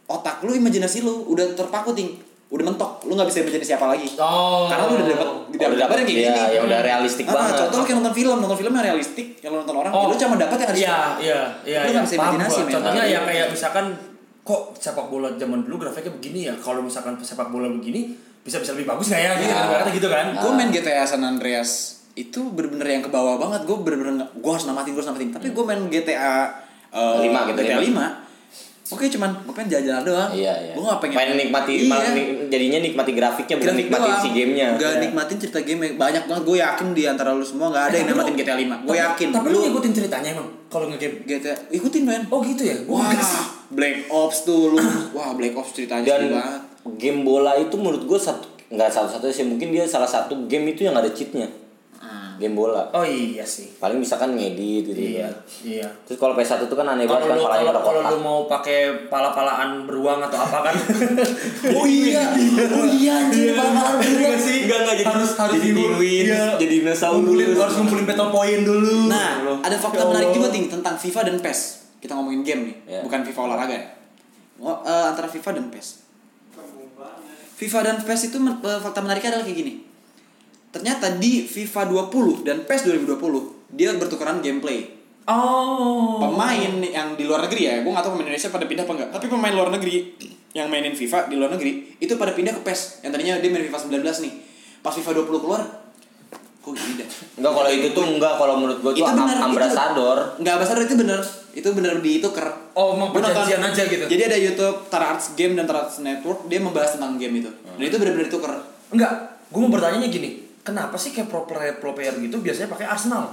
Speaker 3: otak lu imajinasi lu udah terpaku ting udah mentok lu nggak bisa imajinasi apa lagi
Speaker 1: Oh.
Speaker 3: karena lu udah dapat
Speaker 2: Oh, udah dapat
Speaker 3: yang kayak
Speaker 2: ya,
Speaker 3: gini
Speaker 2: yang udah realistik
Speaker 3: Ah,
Speaker 2: banget
Speaker 3: contoh lu kayak nonton film nonton film yang realistik yang lu nonton orang ya
Speaker 1: Oh.
Speaker 3: lu cuma dapat yang ada di
Speaker 1: Iya,
Speaker 3: situ.
Speaker 1: iya, iya.
Speaker 3: Lu
Speaker 1: iya.
Speaker 3: nggak bisa
Speaker 1: Paham
Speaker 3: imajinasi,
Speaker 1: gua.
Speaker 3: men.
Speaker 1: Contohnya
Speaker 3: Nah,
Speaker 1: ya kayak misalkan kok sepak bola zaman dulu grafiknya begini ya. Kalau misalkan sepak bola begini bisa bisa lebih bagus nggak ya? Gitu,
Speaker 3: Iya.
Speaker 2: Ya.
Speaker 1: ibaratnya gitu kan.
Speaker 3: gue
Speaker 2: Ah.
Speaker 3: main GTA San Andreas itu bener-bener yang ke bawah banget gue bener-bener nggak- gua harus namatin gue harus namatin tapi gue main GTA eh,
Speaker 2: Hmm. Lima, GTA
Speaker 3: GTA
Speaker 2: lima.
Speaker 3: 5 Oke cuman gue pengen jalan-jalan doang
Speaker 2: Iya, iya.
Speaker 3: Gue gak pengen
Speaker 2: nikmati
Speaker 3: Iya.
Speaker 2: malah nik- jadinya nikmati grafiknya bukan
Speaker 3: Grafik
Speaker 2: nikmatin
Speaker 3: doang.
Speaker 2: si gamenya.
Speaker 3: Nggak
Speaker 2: Iya.
Speaker 3: nikmatin cerita game Banyak banget gue yakin di antara lu semua gak ada yang nikmatin GTA 5 Gue
Speaker 1: Tapi-
Speaker 3: yakin
Speaker 1: Tapi lu ngikutin ceritanya emang kalau ngegame.
Speaker 3: GTA Ikutin men
Speaker 1: Oh gitu ya. Gua
Speaker 3: Wah
Speaker 1: nggak sih.
Speaker 3: Black Ops tuh lu Wah Black Ops ceritanya
Speaker 2: Dan
Speaker 3: seru banget
Speaker 2: game bola itu menurut gue satu nggak satu-satunya sih mungkin dia salah satu game itu yang ada cheatnya.
Speaker 3: Ah.
Speaker 2: Game bola.
Speaker 1: Oh iya sih.
Speaker 2: Paling misalkan ngedit gitu
Speaker 1: Iya,
Speaker 2: kan.
Speaker 1: iya.
Speaker 2: Terus kalau PS1 itu kan aneh
Speaker 1: Kalau
Speaker 2: banget kan
Speaker 1: lu
Speaker 2: palanya
Speaker 1: kalau
Speaker 2: ada
Speaker 1: kalau
Speaker 2: kotak.
Speaker 1: lu mau pakai pala-palaan beruang atau apa kan?
Speaker 3: Oh iya Oh iya anjir parah-parah bener.
Speaker 1: Iya sih.
Speaker 2: Enggak, enggak, jadi-
Speaker 1: harus harus
Speaker 2: jadi
Speaker 1: diurut.
Speaker 2: penguin,
Speaker 1: Iya.
Speaker 2: jadi dinosaurus.
Speaker 1: Ngumpulin- harus ngumpulin battle point dulu.
Speaker 3: Nah,
Speaker 1: Loh.
Speaker 3: ada
Speaker 1: Ya
Speaker 3: fakta menarik
Speaker 1: Allah.
Speaker 3: juga ting tentang FIFA dan PES. Kita ngomongin game nih,
Speaker 2: Iya.
Speaker 3: bukan FIFA olahraga ya. Oh, eh, antara FIFA dan PES. FIFA dan PES itu men- eh, fakta menariknya adalah kayak gini. Ternyata di FIFA 20 dan PES 2020 dia bertukaran gameplay.
Speaker 1: Oh.
Speaker 3: Pemain yang di luar negeri ya, gue gak tau pemain Indonesia pada pindah apa enggak. Tapi pemain luar negeri yang mainin FIFA di luar negeri itu pada pindah ke PES. Yang tadinya dia main FIFA 19 nih. Pas FIFA 20 keluar, kok gini dah.
Speaker 2: Enggak kalau itu tuh enggak kalau menurut gue tuh am- ambrasador.
Speaker 3: Enggak ambasador itu bener. Itu bener di itu ker.
Speaker 1: Oh, emang
Speaker 3: Gua nonton.
Speaker 1: perjanjian aja gitu.
Speaker 3: Jadi ada YouTube Tara Arts Game dan Tara Arts Network dia membahas tentang game itu. Dan itu bener-bener itu ker.
Speaker 1: Enggak, gue mau bertanyanya gini. Kenapa sih kayak pro player, pro player gitu biasanya pakai Arsenal?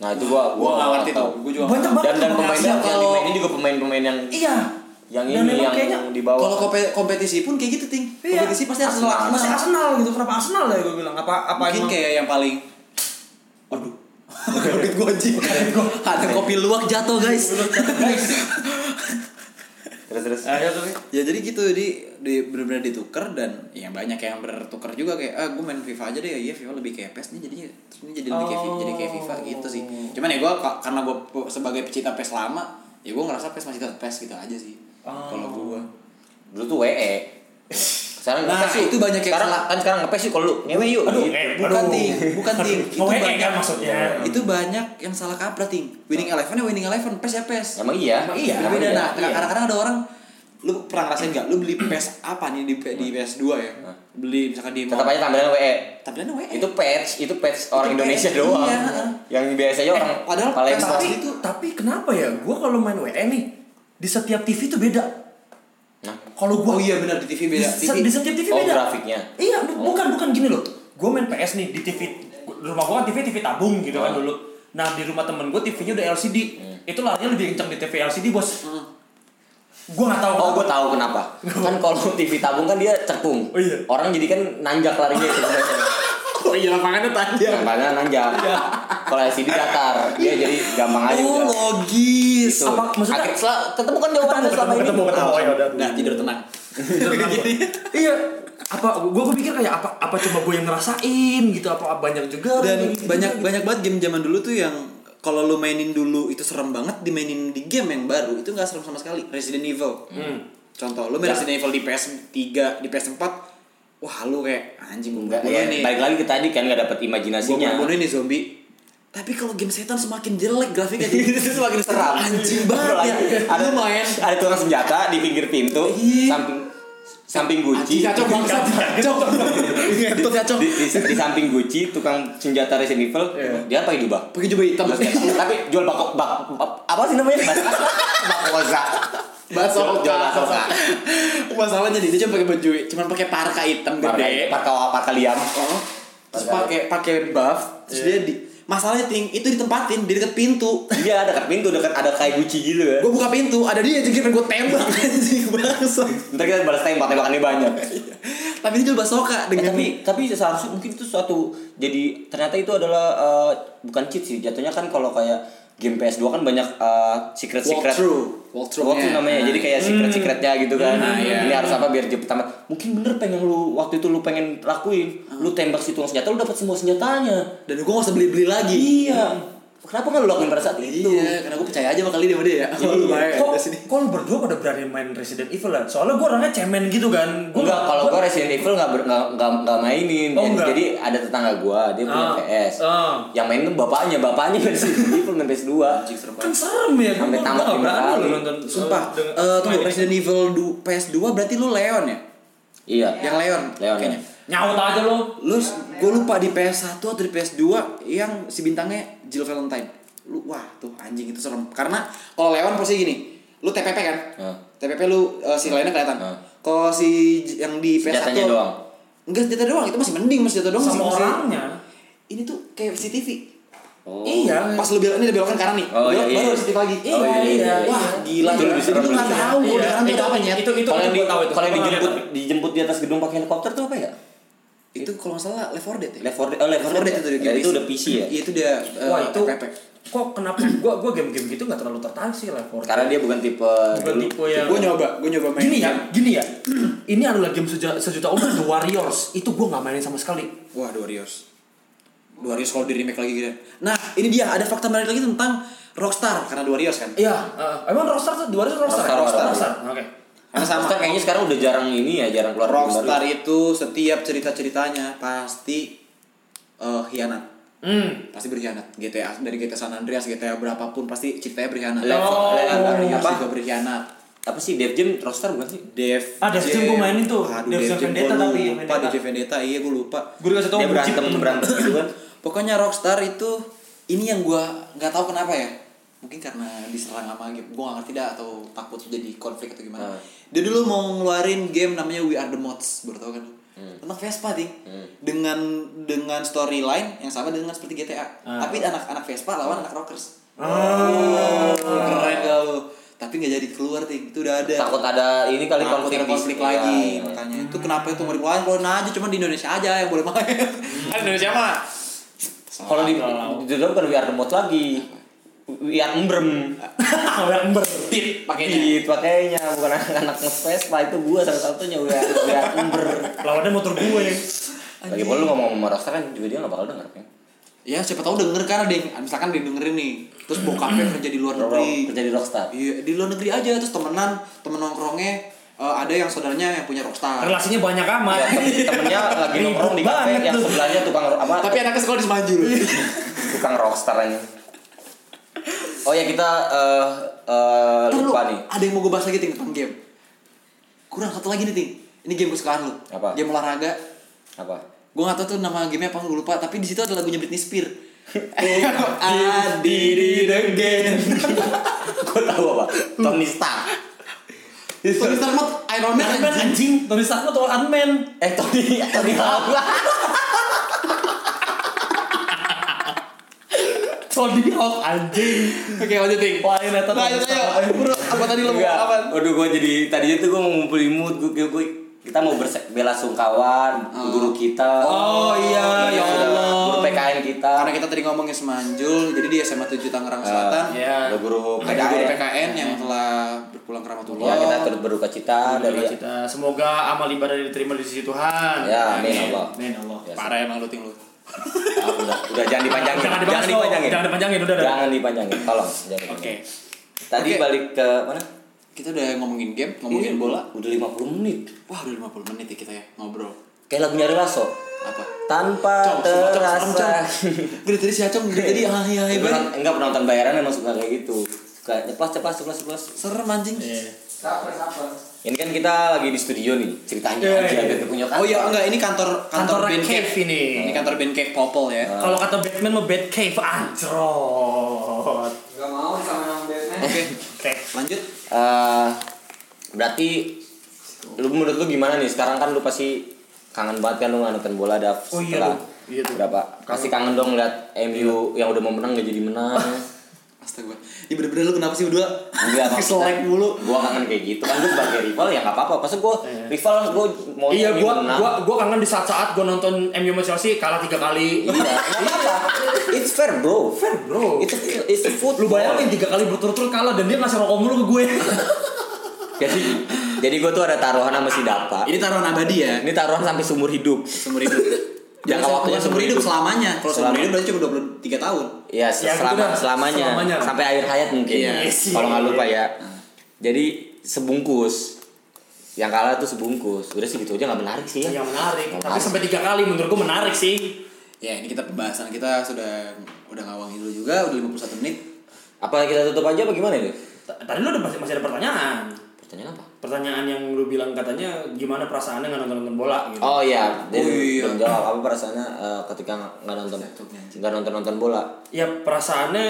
Speaker 2: Nah, itu gua
Speaker 3: Gua nggak ngerti
Speaker 2: tahu.
Speaker 3: tuh. Gua juga. nggak
Speaker 1: Banyak
Speaker 3: ngerti.
Speaker 1: banget
Speaker 2: Dan dan
Speaker 1: tuh
Speaker 2: pemainnya
Speaker 1: pemain
Speaker 2: yang
Speaker 1: Arsenal.
Speaker 2: dimainin juga pemain-pemain yang
Speaker 1: Iya.
Speaker 2: yang
Speaker 1: Dan
Speaker 2: ini
Speaker 1: emang
Speaker 2: yang
Speaker 1: kayaknya-
Speaker 2: di bawah.
Speaker 3: Kalau kompe- kompetisi pun kayak gitu ting.
Speaker 1: Iya.
Speaker 3: Kompetisi pasti harus Arsenal.
Speaker 1: Masih Arsenal gitu. Kenapa Arsenal ya gue bilang? Apa apa
Speaker 3: Mungkin kayak yang paling. Waduh. Duit gua anjing. Ada kopi luwak jatuh guys.
Speaker 2: Terus terus.
Speaker 1: Ayo tuh.
Speaker 3: ya jadi gitu di, di benar-benar ditukar dan ya banyak yang bertukar juga kayak ah gue main FIFA aja deh iya FIFA lebih kayak PES nih jadinya terus ini jadi lebih kayak FIFA, jadi kayak FIFA gitu sih cuman ya gue karena gue sebagai pecinta PES lama ya gue ngerasa PES masih tetap PES gitu aja sih kalau gue
Speaker 2: Dulu tuh WE. Sekarang
Speaker 3: Nah,
Speaker 2: ngepes yuk.
Speaker 3: itu banyak yang
Speaker 2: sekarang
Speaker 3: salah.
Speaker 2: kan sekarang ngepes yuk kalau lu ngewe yuk.
Speaker 1: Aduh,
Speaker 2: gitu.
Speaker 1: eh,
Speaker 3: bukan
Speaker 1: aduh.
Speaker 3: ting bukan ting itu
Speaker 1: Oh, eh,
Speaker 3: banyak
Speaker 1: kan maksudnya.
Speaker 3: itu banyak yang salah kaprah ting winning eleven ya winning eleven PES ya PES
Speaker 2: Emang iya.
Speaker 1: Emang iya.
Speaker 2: Emang
Speaker 3: berbeda
Speaker 2: iya.
Speaker 3: nah kadang-kadang ada orang lu pernah ngerasain gak lu beli PES apa nih di, di PS 2 ya beli misalkan di
Speaker 2: Iya. Tetap aja E. Iya. tampilan WE.
Speaker 3: tampilannya WE
Speaker 2: Itu patch, itu patch orang
Speaker 3: patch,
Speaker 2: Indonesia doang.
Speaker 3: iya.
Speaker 2: Yang biasanya orang
Speaker 3: padahal patch
Speaker 2: Palembang.
Speaker 1: Tapi,
Speaker 3: Asli tuh-
Speaker 1: tapi kenapa ya? Gue kalau main WE nih di setiap TV tuh beda.
Speaker 2: Nah.
Speaker 1: Kalau gue
Speaker 3: Oh iya benar di TV beda.
Speaker 1: di, se-
Speaker 3: TV.
Speaker 1: di setiap TV
Speaker 2: Oh,
Speaker 1: beda.
Speaker 2: grafiknya.
Speaker 3: Oh.
Speaker 1: Iya, bu- bukan bukan gini loh. gue main PS nih di TV di rumah gue kan TV TV tabung gitu kan
Speaker 3: Oh.
Speaker 1: dulu nah di rumah temen gue TV-nya udah LCD
Speaker 3: Hmm.
Speaker 1: itu larinya lebih kenceng di TV LCD bos gue nggak tahu
Speaker 2: Oh,
Speaker 1: kenapa.
Speaker 2: gue tahu kenapa. Kan kalau TV tabung kan dia cekung.
Speaker 1: Oh, iya.
Speaker 2: Orang jadi kan nanjak larinya ke sana.
Speaker 6: Oh iya lapangannya tanjang.
Speaker 2: Makanya nanjak.
Speaker 1: Iya.
Speaker 2: Kalau LCD datar, dia jadi gampang aja udah.
Speaker 3: Oh, logis.
Speaker 2: Gitu.
Speaker 1: apa- maksudnya-
Speaker 2: Akhirnya sel- ketemu kan jawabannya selama ini.
Speaker 1: ketemu ketemu ya udah
Speaker 3: Nah, tidur tenang.
Speaker 1: gitu iya apa gue pikir kayak apa apa cuma gue yang ngerasain gitu apa banyak juga
Speaker 3: Dan
Speaker 1: orang yang gitu
Speaker 3: banyak
Speaker 1: juga gitu.
Speaker 3: banyak banget game zaman dulu tuh yang kalau lu mainin dulu itu serem banget dimainin di game yang baru itu nggak serem sama sekali. Resident Evil.
Speaker 1: Hmm.
Speaker 3: Contoh, lu main Resident Evil di PS3, di PS4, wah lu kayak anjing gue
Speaker 2: Enggak,
Speaker 3: bunuh
Speaker 2: ya,
Speaker 3: nih.
Speaker 2: balik lagi ke tadi kan gak dapet
Speaker 3: Gue
Speaker 2: imajinasinya.
Speaker 3: bunuh nih zombie. Tapi kalau game setan semakin jelek grafiknya jadi
Speaker 2: itu semakin seram.
Speaker 3: Anjing banget ya.
Speaker 2: Ada
Speaker 3: Lu main.
Speaker 2: ada tukang senjata di pinggir pintu,
Speaker 3: Iya.
Speaker 2: samping samping guci.
Speaker 3: Kacau bangsa, kacau. Itu kacau.
Speaker 2: Di, di, di samping guci tukang senjata Resident Evil,
Speaker 3: Iya.
Speaker 2: dia pakai jubah.
Speaker 3: Pakai jubah hitam.
Speaker 2: Terus kayak, tapi jual bako bak apa sih namanya bakoza Jual-
Speaker 3: Bakso
Speaker 2: jual bakso.
Speaker 3: Masalahnya nih, dia cuma pakai baju, cuma pakai parka hitam
Speaker 2: parka
Speaker 3: gede.
Speaker 2: parka parka liam
Speaker 3: Oh. Terus pakai pakai buff, terus
Speaker 2: Iya.
Speaker 3: dia di Masalahnya ting itu ditempatin di dekat pintu.
Speaker 2: dia Iya, dekat pintu dekat ada kayak guci gitu ya
Speaker 3: Gue buka pintu, ada dia jadi gue tembak anjing bangsa.
Speaker 2: ntar kita balas tembak tembakannya banyak
Speaker 3: Tapi dia coba soka
Speaker 2: Eh,
Speaker 3: dengan
Speaker 2: tapi tapi seharusnya mungkin itu suatu jadi ternyata itu adalah eh, bukan cheat sih jatuhnya kan kalau kayak game PS2 kan banyak secret secret
Speaker 3: walkthrough. Walkthrough.
Speaker 2: Walkthrough namanya, jadi kayak secret-secretnya gitu kan
Speaker 3: iya.
Speaker 2: Ini harus apa biar cepet tamat Mungkin bener pengen lu, waktu itu lu pengen lakuin Lu tembak si tukang senjata, lu dapat semua senjatanya
Speaker 3: dan gue gak usah beli-beli lagi.
Speaker 2: Iya. Kenapa nggak lu lakuin pada saat itu?
Speaker 3: Iya, karena gue percaya aja sama kali dia sama dia ya. Oh, lu bayar
Speaker 1: kok,
Speaker 3: di sini.
Speaker 1: kok lu berdua pada berani main Resident Evil ya? Soalnya gue orangnya cemen gitu kan. Gua
Speaker 2: Enggak, kalau gua Resident Evil nggak ber- nggak nggak nggak mainin.
Speaker 1: Oh, nggak.
Speaker 2: Jadi ada tetangga gua, dia punya
Speaker 1: Ah,
Speaker 2: PS.
Speaker 1: ah.
Speaker 2: Yang main tuh bapaknya, bapaknya main Resident Evil main PS2.
Speaker 1: kan serem ya.
Speaker 2: Sampai
Speaker 1: Gua-
Speaker 2: tamat
Speaker 1: gua nggak
Speaker 2: lima
Speaker 1: berani
Speaker 2: kali.
Speaker 1: loh nonton.
Speaker 3: Sumpah,
Speaker 1: eh, dengan-
Speaker 3: eh tunggu
Speaker 1: main.
Speaker 3: Resident Evil du- PS2 berarti lu Leon ya?
Speaker 2: Iya.
Speaker 3: Yang Leon.
Speaker 2: Leon ya.
Speaker 3: kayaknya.
Speaker 1: Nyaut aja lo.
Speaker 3: Lu gue lupa di PS1 atau di PS2 yang si bintangnya Jill Valentine. Lu wah tuh anjing itu serem. Karena kalau Leon pasti gini, lu TPP kan?
Speaker 2: Hah.
Speaker 3: TPP lu eh, si Leonnya kelihatan.
Speaker 2: Hah.
Speaker 3: Kalau si J- yang di PS1
Speaker 2: Senjatanya doang.
Speaker 3: Enggak senjata doang, itu masih mending masih senjata doang
Speaker 1: Sama
Speaker 3: masih- masih-
Speaker 1: orangnya.
Speaker 3: Ini tuh kayak CCTV.
Speaker 2: Oh.
Speaker 1: Iya.
Speaker 3: Pas lu belok ini udah belok kan kanan nih.
Speaker 2: Oh,
Speaker 3: belok,
Speaker 2: iya, iya.
Speaker 3: baru CCTV lagi.
Speaker 1: Iya, iya,
Speaker 3: Wah,
Speaker 1: iya.
Speaker 3: gila.
Speaker 2: Itu lebih serem
Speaker 3: Itu nggak
Speaker 2: lagi.
Speaker 3: tahu
Speaker 1: Iya.
Speaker 3: gua di kanan tuh
Speaker 1: Itu-
Speaker 3: ada apa nyet.
Speaker 1: itu- itu- kan
Speaker 2: Kalau yang di,
Speaker 1: gua tahu itu. Iya,
Speaker 2: kalau yang
Speaker 1: Gua nggak
Speaker 2: dijemput
Speaker 1: tahu.
Speaker 2: dijemput di atas gedung pakai helikopter tuh apa ya?
Speaker 3: Itu kalau nggak salah Left 4 Dead ya.
Speaker 2: Left 4 Dead, oh, Left 4 Dead
Speaker 3: itu
Speaker 2: ya?
Speaker 3: game
Speaker 2: Ya, itu udah PC ya?
Speaker 3: Iya itu dia. eh,
Speaker 1: Wah itu
Speaker 3: TPP.
Speaker 1: kok kenapa gua gua game-game gitu nggak terlalu tertarik sih lah for
Speaker 2: Karena dia bukan tipe
Speaker 1: bukan
Speaker 2: dulu.
Speaker 1: tipe yang
Speaker 3: Gue nyoba, gue nyoba main.
Speaker 1: gini ya gini ya ini adalah game seja, sejuta umat The Warriors itu gua nggak mainin sama sekali
Speaker 3: Wah, dua Rios. Dua Rios kalau di remake lagi gitu. Nah, ini dia ada fakta menarik lagi tentang Rockstar karena dua Rios kan.
Speaker 1: iya eh, emang Rockstar tuh The Warriors Rockstar ya?
Speaker 2: Rockstar,
Speaker 1: Rockstar oke
Speaker 3: Karena sama.
Speaker 2: Rockstar kayaknya sekarang udah jarang ini ya, jarang keluar game baru.
Speaker 3: Rockstar itu setiap cerita-ceritanya pasti eh hianat.
Speaker 1: hmm
Speaker 3: Pasti berkhianat. GTA dari GTA San Andreas, GTA berapapun pasti ceritanya berkhianat.
Speaker 2: Left
Speaker 1: Oh.
Speaker 2: Left-
Speaker 3: Dua Rios
Speaker 2: apa?
Speaker 3: juga berkhianat.
Speaker 2: Apa sih Dev Jam Rockstar bukan sih?
Speaker 3: Dev
Speaker 1: Ah, Dev Jam gua mainin tuh.
Speaker 3: Aduh,
Speaker 1: Dev
Speaker 3: Dev
Speaker 1: Jam
Speaker 3: Jam
Speaker 1: Vendetta
Speaker 3: gua
Speaker 1: tapi yang
Speaker 3: lupa
Speaker 1: Vendetta.
Speaker 3: Dev Vendetta iya gue lupa
Speaker 1: gue dikasih tau
Speaker 2: Dia berantem berantem gitu kan.
Speaker 3: Pokoknya Rockstar itu ini yang gua nggak tahu kenapa ya. Mungkin karena diserang sama game, gua gak ngerti dah atau takut jadi konflik atau gimana.
Speaker 2: Hmm.
Speaker 3: Dia dulu mau ngeluarin game namanya We Are the Mods, baru tau kan?
Speaker 2: Hmm.
Speaker 3: Tentang Vespa ting. Dengan dengan storyline yang sama dengan seperti GTA. Tapi anak-anak Vespa lawan anak rockers.
Speaker 2: Ah.
Speaker 3: Oh, keren gak lu? Tapi nggak jadi keluar ting, itu udah ada.
Speaker 2: Takut ada ini kali
Speaker 3: Iya. Takut
Speaker 2: konflik
Speaker 3: ada
Speaker 2: di-
Speaker 3: konflik
Speaker 2: Iya,
Speaker 3: lagi
Speaker 2: iya.
Speaker 3: makanya itu kenapa itu mau dikeluarin keluarin aja cuma di Indonesia aja yang boleh main kan Indonesia mah
Speaker 2: Kalau di di kan dalam bukan VR remote lagi. Iya, VR embrem.
Speaker 1: orang ember
Speaker 2: Pakainya. Gitu, pakainya bukan anak-anak Vespa itu gua satu-satunya VR VR ember.
Speaker 1: lawannya motor gue
Speaker 2: Lagi lu ngomong sama Rockstar kan juga dia enggak bakal denger kan.
Speaker 3: ya siapa tahu denger kan ada yang misalkan dia dengerin nih terus bokapnya kerja di luar
Speaker 2: Rock-
Speaker 3: negeri
Speaker 2: Kerja di Rockstar.
Speaker 3: iya di luar negeri aja terus temenan temen nongkrongnya eh, ada yang saudaranya yang punya rockstar
Speaker 1: relasinya banyak amat
Speaker 2: Ya, tem- temennya lagi
Speaker 1: Ribut
Speaker 2: nongkrong di kafe
Speaker 1: banget
Speaker 2: yang
Speaker 1: tuh.
Speaker 2: sebelahnya tukang ro- apa
Speaker 3: tapi anaknya sekolah di Semanjul
Speaker 2: Iya. tukang rockstar aja. Oh ya kita eh, eh,
Speaker 3: Ntar lu,
Speaker 2: lupa nih.
Speaker 3: ada yang mau gue bahas lagi ting tentang game kurang satu lagi nih ting ini game kesukaan lu
Speaker 2: Apa?
Speaker 3: game olahraga
Speaker 2: Apa?
Speaker 3: gue gak tau tuh nama gamenya apa gue lupa tapi di situ ada lagunya Britney Spears
Speaker 2: Oh, iya.
Speaker 3: I did it again
Speaker 2: Gua tahu apa? Tony Stark. Iya.
Speaker 3: Tony Stark mah Iron Man
Speaker 1: Iron Man
Speaker 3: anjing.
Speaker 1: anjing Tony Stark tuh Iron Man
Speaker 2: Eh Tony Tony Hawk.
Speaker 1: Tony Hawk anjing.
Speaker 3: Oke, lanjut ting.
Speaker 1: Lain eta.
Speaker 3: Lanjut ayo. Bro, apa tadi lo mau
Speaker 2: Enggak.
Speaker 3: apa?
Speaker 2: Waduh gue jadi tadinya tuh gue mau ngumpulin mood gue, gue, gue- kita mau berse- bela sungkawan guru kita.
Speaker 3: Ah. Oh, iya, ya Allah.
Speaker 2: Guru PKN kita.
Speaker 3: Karena kita tadi ngomongin Semanjul, jadi di SMA 7 Tangerang Selatan
Speaker 1: Iya.
Speaker 2: Ada guru
Speaker 3: Ah, ada ya. Hmm. guru
Speaker 2: PKN.
Speaker 3: PKN yang telah berpulang ke rahmatullah.
Speaker 2: Ya kita turut berduka cita dari
Speaker 1: Cita. Semoga amal ibadah diterima di sisi Tuhan.
Speaker 2: Ya, amin Allah. Ya.
Speaker 3: Amin Allah.
Speaker 2: Biasa.
Speaker 3: Parah emang lu ting lu.
Speaker 2: Ah, udah, udah jangan dipanjangin.
Speaker 1: Jangan
Speaker 2: Jangan
Speaker 1: dipanjangin.
Speaker 2: dipanjangin.
Speaker 1: Jangan dipanjangin udah udah.
Speaker 2: Jangan dipanjangin. Tolong, jangan. dipanjangin.
Speaker 1: Oke.
Speaker 2: Tadi
Speaker 3: Oke.
Speaker 2: balik ke mana?
Speaker 3: Kita udah ngomongin game, ngomongin bola.
Speaker 2: Udah 50 menit.
Speaker 3: Wah, udah 50 menit ya kita ya ngobrol.
Speaker 2: Kayak lagunya Relaso.
Speaker 3: Apa?
Speaker 2: Tanpa terasa.
Speaker 3: Gue tadi si Acong, dari tadi hai hai
Speaker 2: Gue
Speaker 3: banget.
Speaker 2: pernah- Enggak pernah nonton bayaran emang suka kayak gitu. Suka ceplas ceplas ceplas ceplas.
Speaker 3: Serem anjing.
Speaker 1: Iya.
Speaker 4: Sabar, sabar.
Speaker 2: Ini kan kita lagi di studio nih, ceritanya
Speaker 1: Iya,
Speaker 2: aja
Speaker 1: iya.
Speaker 2: kita punya kantor.
Speaker 3: Oh iya, enggak ini kantor kantor,
Speaker 1: Kantor
Speaker 3: band
Speaker 1: Cave
Speaker 3: cave
Speaker 1: ini.
Speaker 3: Ini
Speaker 2: kan.
Speaker 3: kantor band cave Popol ya.
Speaker 1: Kalau kata Batman mah Batcave anjrot.
Speaker 4: Gak mau sama yang Batman.
Speaker 3: Oke,
Speaker 1: Oke.
Speaker 3: lanjut.
Speaker 2: Eh, berarti lu menurut lu gimana nih? Sekarang kan lu pasti kangen banget kan lu nonton bola ada
Speaker 1: Oh iya
Speaker 2: setelah
Speaker 1: dong. Iya tuh.
Speaker 2: berapa? Pasti kangen dong lihat MU yang udah mau menang gak jadi menang.
Speaker 3: Astaga. Ini bener-bener lu kenapa sih berdua?
Speaker 2: Enggak
Speaker 3: Keselek
Speaker 2: Iya,
Speaker 3: mulu.
Speaker 2: Gua kangen kayak gitu kan lu sebagai rival ya enggak apa-apa. Masa gua rival gua mau
Speaker 1: Iya,
Speaker 2: MU
Speaker 1: gua,
Speaker 2: menang.
Speaker 1: gua, gua kangen di saat-saat gua nonton MU sama Chelsea kalah tiga kali.
Speaker 2: Iya, enggak apa-apa. It's fair, bro.
Speaker 1: Fair bro.
Speaker 2: It's it's the football.
Speaker 1: Lu bayangin tiga kali berturut-turut kalah dan dia ngasih rokok mulu ke gue.
Speaker 2: Jadi jadi gua tuh ada taruhan sama si Dapa.
Speaker 3: Ini taruhan abadi ya.
Speaker 2: Ini taruhan sampai seumur hidup.
Speaker 3: Seumur hidup.
Speaker 2: Jangka
Speaker 3: Jangan
Speaker 2: waktunya
Speaker 3: waktunya seumur hidup selamanya. Kalau seumur
Speaker 2: Selama.
Speaker 3: hidup berarti cuma 23 tahun.
Speaker 2: Ya,
Speaker 1: Ya, gitu
Speaker 2: selama,
Speaker 1: dah.
Speaker 2: selamanya.
Speaker 1: Selamanya.
Speaker 2: Sampai akhir hayat mungkin. ya,
Speaker 3: Iya.
Speaker 1: Yes,
Speaker 2: Kalau nggak
Speaker 1: iya.
Speaker 2: lupa ya. Jadi sebungkus. Yang kalah tuh sebungkus. Udah sih gitu aja nggak menarik sih ya.
Speaker 1: Iya, Yang menarik. Tapi
Speaker 2: Menarik.
Speaker 1: sampai tiga kali menurut gue menarik sih.
Speaker 3: Ya, ini kita pembahasan kita sudah udah ngawangin dulu juga udah 51 menit.
Speaker 2: Apa kita tutup aja apa gimana ini?
Speaker 1: T- Tadi lu udah masih, masih ada pertanyaan.
Speaker 2: Pertanyaan apa?
Speaker 1: Pertanyaan yang lu bilang katanya gimana perasaannya nggak nonton nonton bola gitu.
Speaker 2: Oh iya, dia
Speaker 3: Oh, iya.
Speaker 2: belum jawab apa perasaannya eh, ketika nggak nonton nggak nonton nonton bola.
Speaker 1: Ya perasaannya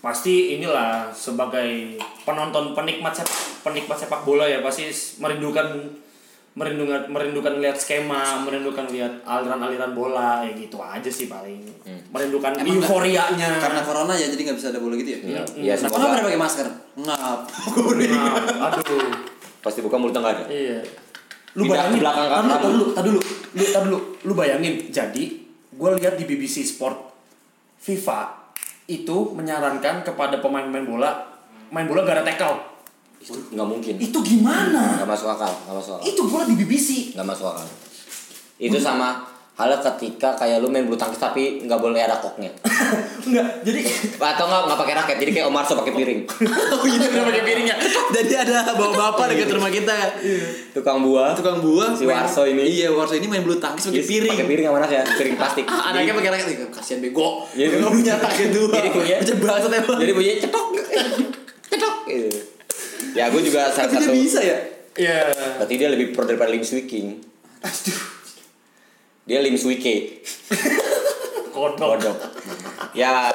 Speaker 1: pasti inilah sebagai penonton penikmat sepak penikmat sepak bola ya pasti s- merindukan merindukan merindukan lihat skema merindukan lihat aliran-aliran bola ya gitu aja sih paling merindukan
Speaker 3: nggak-
Speaker 1: euforianya
Speaker 3: Karena corona ya jadi nggak bisa ada bola gitu ya.
Speaker 2: Iya, Iya,
Speaker 3: Kenapa nggak
Speaker 2: semoga
Speaker 3: pada pakai masker? Ngap.
Speaker 1: Nah, aduh
Speaker 2: pasti buka mulutnya nggak ada.
Speaker 1: iya lu
Speaker 2: Pindah
Speaker 1: bayangin
Speaker 2: ke belakang
Speaker 1: tar dulu,
Speaker 2: kanan.
Speaker 1: tar dulu tar dulu lu tar dulu lu bayangin jadi gue lihat di BBC Sport FIFA itu menyarankan kepada pemain-pemain bola main bola gak ada tackle
Speaker 2: Itu nggak mungkin.
Speaker 1: itu gimana
Speaker 2: Nggak masuk akal, nggak masuk akal.
Speaker 1: itu bola di BBC
Speaker 2: nggak masuk akal itu sama halnya ketika kayak lu main bulu tangkis tapi nggak boleh ada koknya
Speaker 1: enggak jadi
Speaker 2: atau nggak nggak pakai raket jadi kayak Omar so pakai piring
Speaker 3: Oh gitu udah pakai piringnya. Jadi ada bapak-bapak dekat rumah kita ya.
Speaker 2: tukang buah
Speaker 3: Tukang buah
Speaker 2: Si
Speaker 3: main-
Speaker 2: Warso ini.
Speaker 3: Iya, Warso ini main bulu tangkis pakai
Speaker 2: Yes,
Speaker 3: piring.
Speaker 2: pakai piring sama anak ya piring plastik
Speaker 3: Ah, anaknya pakai raket Ih, kasihan bego.
Speaker 2: Iya.
Speaker 3: Enggak punya raket dua.
Speaker 2: Jadi punya.
Speaker 3: Macam bangsat emang.
Speaker 2: jadi bunyinya cetok cetok gitu. ya gue juga salah
Speaker 3: Tapi dia
Speaker 2: satu
Speaker 3: bisa ya?
Speaker 1: ya
Speaker 2: berarti dia lebih pro daripada Lim Swee King dia Lim Swee Ke
Speaker 3: Oh.
Speaker 1: kodok
Speaker 2: kodok ya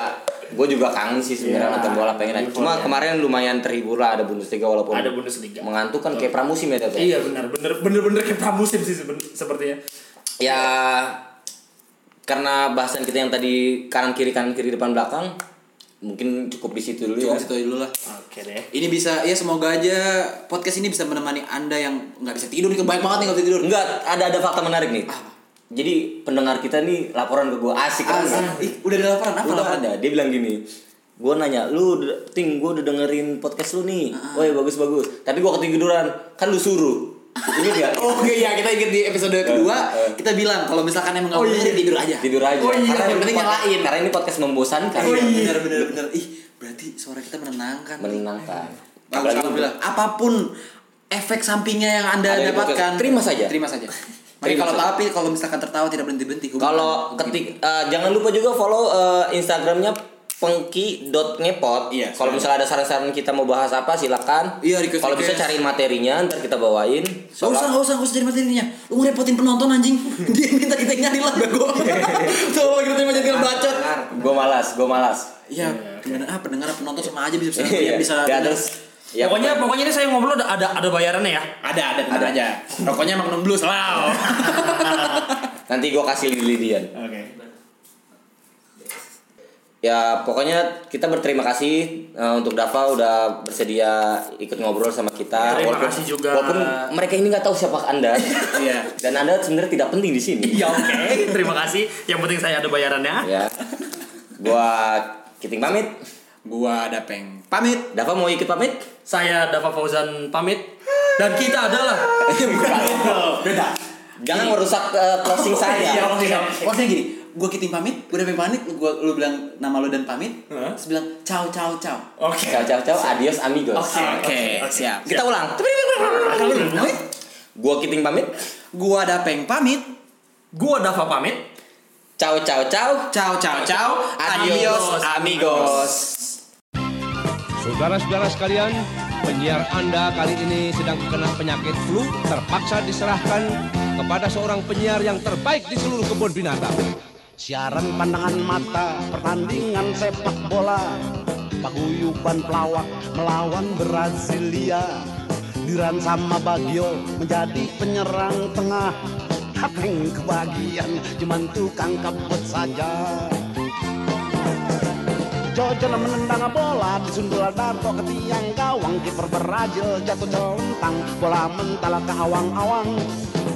Speaker 2: gue juga kangen sih sebenarnya
Speaker 3: Ya,
Speaker 1: Iya,
Speaker 2: nonton bola pengen aja.
Speaker 1: iya,
Speaker 2: cuma
Speaker 1: iya.
Speaker 2: kemarin lumayan terhibur lah ada Bundesliga walaupun
Speaker 1: Ada Bundesliga.
Speaker 2: mengantukkan kayak pramusim ya Dok, ya?
Speaker 1: iya benar benar benar benar kayak pramusim sih seben- sepertinya
Speaker 2: ya karena bahasan kita yang tadi kanan kiri kanan kiri depan belakang mungkin cukup di situ dulu
Speaker 3: Cukup
Speaker 2: ya
Speaker 3: situ aja dulu lah.
Speaker 1: oke deh
Speaker 3: Ini bisa ya semoga aja podcast ini bisa menemani Anda yang nggak bisa tidur nih kebanyak banget nih nggak bisa tidur.
Speaker 2: enggak ada ada fakta menarik nih jadi pendengar kita nih laporan ke gua asik kan
Speaker 3: Asik. Ah, Ih, udah ada laporan apa
Speaker 2: udah
Speaker 3: laporan?
Speaker 2: ada dia bilang gini gua nanya lu d- ting gua udah dengerin podcast lu nih
Speaker 3: Ah.
Speaker 2: woi bagus bagus tapi gua ketiduran kan lu suruh ini dia
Speaker 3: Oh iya, kita inget di episode kedua
Speaker 2: eh. Oh, iya.
Speaker 3: kita bilang kalau misalkan emang nggak boleh tidur aja.
Speaker 2: tidur aja
Speaker 3: Oh iya,
Speaker 2: karena
Speaker 3: yang penting nyalain.
Speaker 2: karena ini podcast membosankan
Speaker 3: Oh iya, benar benar benar. Ih, berarti suara kita menenangkan.
Speaker 2: menenangkan
Speaker 3: Bagus,
Speaker 2: Apalagi-
Speaker 3: alhamdulillah. Apapun efek sampingnya yang Anda
Speaker 2: Ada di
Speaker 3: dapatkan,
Speaker 2: podcast. Terima saja.
Speaker 3: Terima saja. Makanya
Speaker 2: Terima
Speaker 3: kalau
Speaker 2: saja.
Speaker 3: tapi kalau misalkan tertawa tidak berhenti-berhenti. hubungan.
Speaker 2: Kalau ketik eh, jangan lupa juga follow eh, Instagramnya pengki.ngepot.
Speaker 3: Iya,
Speaker 2: Kalau misalnya ada saran-saran kita mau bahas apa silakan.
Speaker 3: Iya, request-
Speaker 2: Kalau bisa
Speaker 3: request.
Speaker 2: cariin materinya ntar kita bawain.
Speaker 3: Gak usah, gak usah, gak usah jadi materinya Lu ngerepotin penonton anjing Dia yang minta kita yang nyari lah, bego Coba kita terima jadi bacot
Speaker 2: Gue malas, gue malas.
Speaker 3: Ya, pendengar, ah, pendengar penonton sama aja bisa bisa
Speaker 2: Iya.
Speaker 3: bisa
Speaker 2: Ya, terus ya,
Speaker 1: pokoknya pokoknya ini saya ngobrol ada ada, ada bayarannya ya
Speaker 3: ada ada tenang aja rokoknya emang belum lah
Speaker 2: nanti gue kasih lidi-lidian.
Speaker 1: oke
Speaker 2: Ya ya pokoknya kita berterima kasih eh, untuk Dava udah bersedia ikut ngobrol sama kita.
Speaker 7: Terima kasih juga.
Speaker 2: Walaupun mereka ini nggak tahu siapa anda.
Speaker 3: Iya.
Speaker 2: Dan anda sebenarnya tidak penting di sini.
Speaker 7: Ya oke, terima kasih. Yang penting saya ada bayarannya.
Speaker 2: ya. Gua kiting pamit.
Speaker 3: Gua ada peng. Pamit.
Speaker 2: Dava mau ikut pamit?
Speaker 7: Saya Dava Fauzan pamit dan kita adalah
Speaker 2: Jangan merusak eh, closing saya.
Speaker 3: Iya, maksudnya, maksudnya gini, gua kiting pamit, gua udah pengen pamit, gua lu bilang nama lu dan pamit, terus bilang ciao ciao ciao.
Speaker 7: Oke.
Speaker 2: Ciao ciao ciao, adios amigos.
Speaker 3: siap.
Speaker 2: Kita ulang.
Speaker 3: eh.
Speaker 2: Gua kiting pamit.
Speaker 3: Gua ada peng pamit.
Speaker 7: Gua Dava pamit.
Speaker 2: Ciao ciao ciao.
Speaker 3: Ciao ciao ciao.
Speaker 2: Adios amigos.
Speaker 8: Saudara-saudara sekalian, penyiar Anda kali ini sedang terkena penyakit flu terpaksa diserahkan kepada seorang penyiar yang terbaik di seluruh kebun binatang.
Speaker 9: Siaran pandangan mata, pertandingan sepak bola, paguyuban pelawak melawan Brasilia. Diran sama Bagio menjadi penyerang tengah. Hapeng kebagian cuman tukang kabut saja. Jojo menendang bola disundul Darto ke tiang gawang kiper berajil jatuh celentang bola mentala ke awang-awang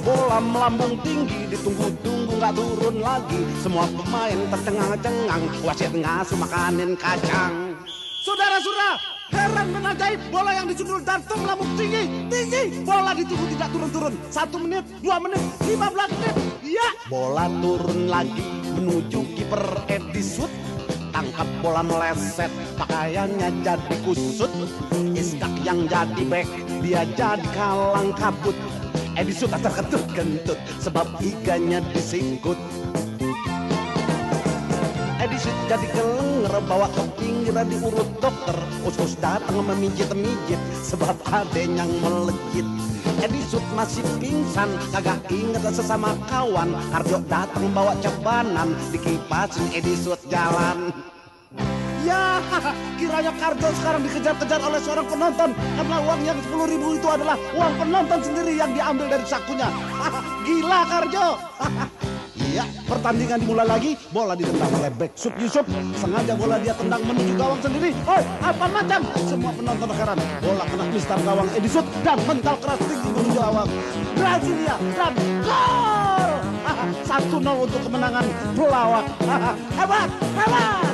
Speaker 9: bola melambung tinggi ditunggu-tunggu nggak turun lagi semua pemain tercengang-cengang wasit ngasuh makanin kacang saudara-saudara heran dan ajaib bola yang disundul Darto melambung tinggi tinggi bola ditunggu tidak turun-turun satu menit dua menit lima belas menit ya bola turun lagi menuju kiper Edi Sud tangkap bola meleset pakaiannya jadi kusut iskak yang jadi bek dia jadi kalang kabut Edi Suta terkentut kentut sebab iganya disingkut Edi Sud Eh, jadi kelenger bawa ke pinggiran diurut dokter Usus datang memijit-mijit sebab adanya yang melejit Edi Sud masih pingsan kagak inget sesama kawan Karjo datang bawa cebanan dikipasin Edi Sud jalan Ya, kiranya Karjo sekarang dikejar-kejar oleh seorang penonton karena uang yang 10.000 ribu itu adalah uang penonton sendiri yang diambil dari sakunya. Gila Karjo. Iya, pertandingan dimulai lagi. Bola ditendang oleh back Sub Yusuf. Sengaja bola dia tendang menuju gawang sendiri. Oi, apa macam? Semua penonton heran. Bola kena mister gawang Edisut dan mental keras tinggi menuju awang. Brasilia dan gol! 1-0 untuk kemenangan pelawak. Hebat, hebat!